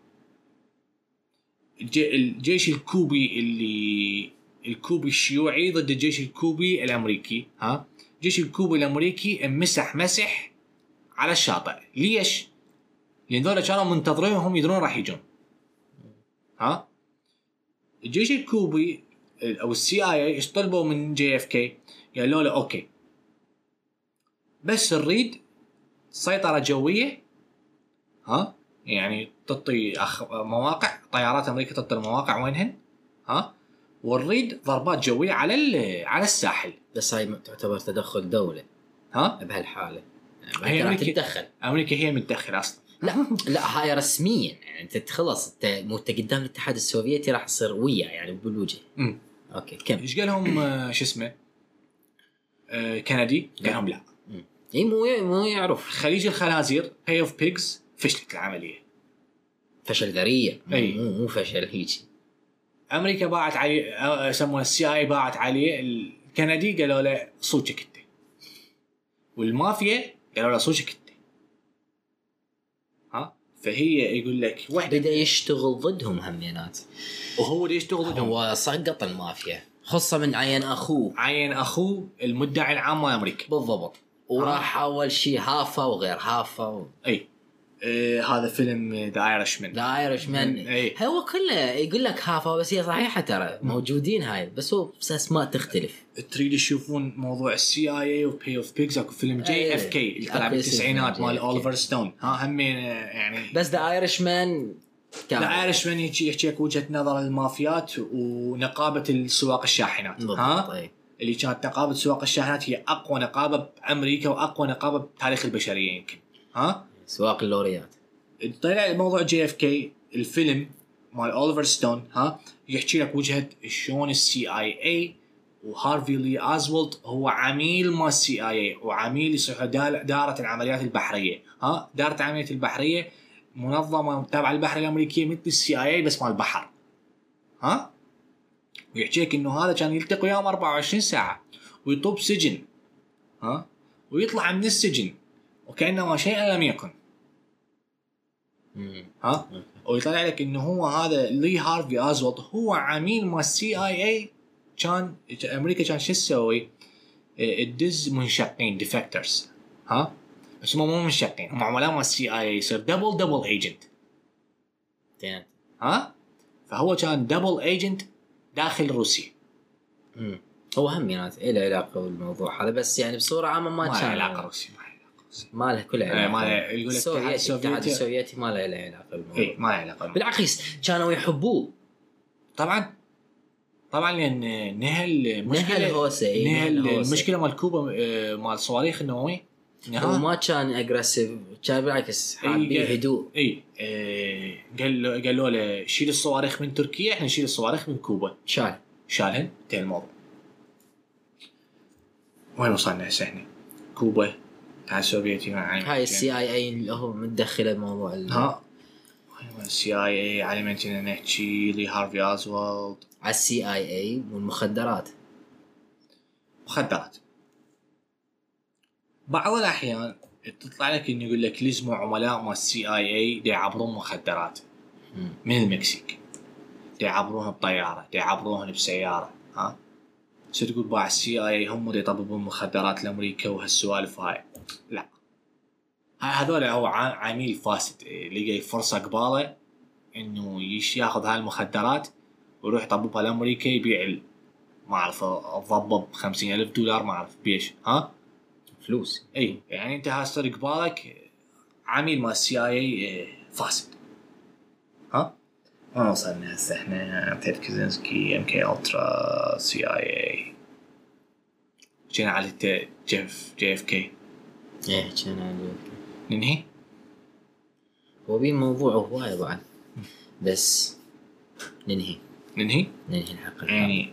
Speaker 1: الج- الجيش الكوبي اللي الكوبي الشيوعي ضد الجيش الكوبي الامريكي ها الجيش الكوبي الامريكي مسح مسح على الشاطئ ليش لان ذولا كانوا منتظرينهم يدرون راح يجون ها الجيش الكوبي ال- او السي اي اي طلبوا من جي اف كي قالوا له اوكي بس نريد سيطره جويه ها يعني تطي أخ... مواقع طيارات امريكا تطي المواقع وينهن ها ونريد ضربات جويه على ال... على الساحل
Speaker 2: بس هاي تعتبر تدخل دوله
Speaker 1: ها
Speaker 2: بهالحاله
Speaker 1: هي
Speaker 2: هي راح
Speaker 1: أمريكا-
Speaker 2: تتدخل
Speaker 1: امريكا هي المتدخله اصلا
Speaker 2: لا لا هاي رسميا يعني انت تخلص انت مو انت قدام الاتحاد السوفيتي راح تصير وياه يعني بالوجه
Speaker 1: أمم.
Speaker 2: اوكي كم
Speaker 1: ايش قالهم آه، شو اسمه آه، كندي
Speaker 2: لا.
Speaker 1: قالهم لا
Speaker 2: اي مو مو يعرف
Speaker 1: خليج الخنازير هي اوف بيجز فشلت العمليه
Speaker 2: فشل ذريع مو-
Speaker 1: أي.
Speaker 2: مو مو فشل هيجي
Speaker 1: امريكا باعت عليه آه، آه، يسمونه السي اي باعت عليه الكندي قالوا له صوتك انت والمافيا قالوا له صوتك انت ها فهي يقول لك وحده
Speaker 2: بدا يشتغل ضدهم همينات
Speaker 1: وهو اللي يشتغل ضدهم
Speaker 2: هو سقط المافيا خصه من عين اخوه
Speaker 1: عين اخوه المدعي العام مال امريكا
Speaker 2: بالضبط وراح
Speaker 1: آه.
Speaker 2: اول شيء هافا وغير هافا و...
Speaker 1: اي آه هذا فيلم ذا ايرش مان
Speaker 2: ذا ايرش مان
Speaker 1: أي.
Speaker 2: هو كله يقول لك هافا بس هي صحيحه ترى موجودين هاي بس هو بس اسماء تختلف
Speaker 1: تريد تشوفون موضوع السي اي اي وبي اوف بيجز اكو فيلم جي
Speaker 2: أي.
Speaker 1: اف كي اللي طلع
Speaker 2: إيه. أكو اسم
Speaker 1: بالتسعينات
Speaker 2: فيلم
Speaker 1: مال
Speaker 2: JFK.
Speaker 1: اوليفر ستون ها هم يعني
Speaker 2: بس ذا ايرش مان كان
Speaker 1: لا ايرش من يجي يحكيك وجهه نظر المافيات ونقابه السواق الشاحنات
Speaker 2: بالضبط
Speaker 1: ها
Speaker 2: أي.
Speaker 1: اللي كانت نقابه سواق الشاحنات هي اقوى نقابه بامريكا واقوى نقابه بتاريخ البشريه يمكن ها
Speaker 2: سواق اللوريات
Speaker 1: طلع موضوع جي اف كي الفيلم مال اوليفر ستون ها يحكي لك وجهه شلون السي اي اي وهارفي لي ازولد هو عميل ما السي اي اي وعميل يصيح دال- دارة العمليات البحريه ها دارة العمليات البحريه منظمه تابعه للبحر الامريكيه مثل السي اي اي بس مال البحر ها ويحكي لك انه هذا كان يلتقي وياهم 24 ساعه ويطوب سجن ها ويطلع من السجن وكانما شيئا لم يكن
Speaker 2: مم.
Speaker 1: ها ويطلع لك انه هو هذا لي هارفي ازولد هو عميل مال السي اي اي كان امريكا كان شو تسوي؟ إيه، تدز منشقين ديفكترز ها بس هم مو منشقين هم عملاء مال السي اي اي يصير دبل دبل ايجنت
Speaker 2: زين.
Speaker 1: ها فهو كان دبل ايجنت داخل روسيا
Speaker 2: مم. هو همينات إيه له علاقه بالموضوع هذا بس يعني بصوره عامه ما
Speaker 1: ما له
Speaker 2: كان-
Speaker 1: علاقه روسيا ما له علاقه روسيا
Speaker 2: ما له كل علاقه
Speaker 1: إيه، ما له- يقول لك
Speaker 2: السوفيتي-
Speaker 1: الاتحاد
Speaker 2: الاتحاد
Speaker 1: السوفيتي- إيه.
Speaker 2: السوفيتي ما له له علاقه
Speaker 1: اي
Speaker 2: بالموضوع
Speaker 1: ما له علاقه
Speaker 2: بالعكس كانوا يحبوه
Speaker 1: طبعا طبعا لان نهل
Speaker 2: نهل
Speaker 1: مشكله
Speaker 2: هوسه إيه،
Speaker 1: نهل
Speaker 2: نهل هوسه.
Speaker 1: المشكله مال كوبا آه، مال صواريخ نعم. النوويه
Speaker 2: نعم. هو ما كان اجريسيف كان بالعكس حابين
Speaker 1: إيه.
Speaker 2: هدوء
Speaker 1: اي آه، قال قالوا له شيل الصواريخ من تركيا احنا نشيل الصواريخ من كوبا
Speaker 2: شال
Speaker 1: إيه، شالهن انتهى الموضوع وين وصلنا هسه احنا؟ كوبا الاتحاد السوفيتي مع
Speaker 2: هاي السي اي اي اللي هو متدخله بموضوع ال- على
Speaker 1: ها السي اي اي على ما كنا نحكي لي هارفي ازولد
Speaker 2: السي اي اي والمخدرات
Speaker 1: مخدرات بعض الاحيان تطلع لك انه يقول لك لزموا عملاء مال السي اي اي يعبرون مخدرات
Speaker 2: مم.
Speaker 1: من المكسيك دي يعبروها بطياره دي يعبروها بسياره ها شو تقول باع السي اي هم دي يطببون مخدرات لامريكا وهالسوالف هاي لا هاي هذول هو ع- عميل فاسد إيه، لقى فرصه قباله انه يش ياخذ هاي المخدرات ويروح يطببها لامريكا يبيع ال- ما اعرف الضبب خمسين الف دولار ما اعرف بيش ها
Speaker 2: فلوس
Speaker 1: اي يعني انت هاستر قبالك عميل مال السي اي فاسد ها وين وصلنا هسه احنا تيد كزنسكي ام كي الترا سي اي اي جينا على الت- جيف جي اف كي إيه،
Speaker 2: ايه كان عندي
Speaker 1: ننهي
Speaker 2: هو بيه موضوع هواي بعد بس ننهي
Speaker 1: ننهي
Speaker 2: ننهي الحلقه
Speaker 1: يعني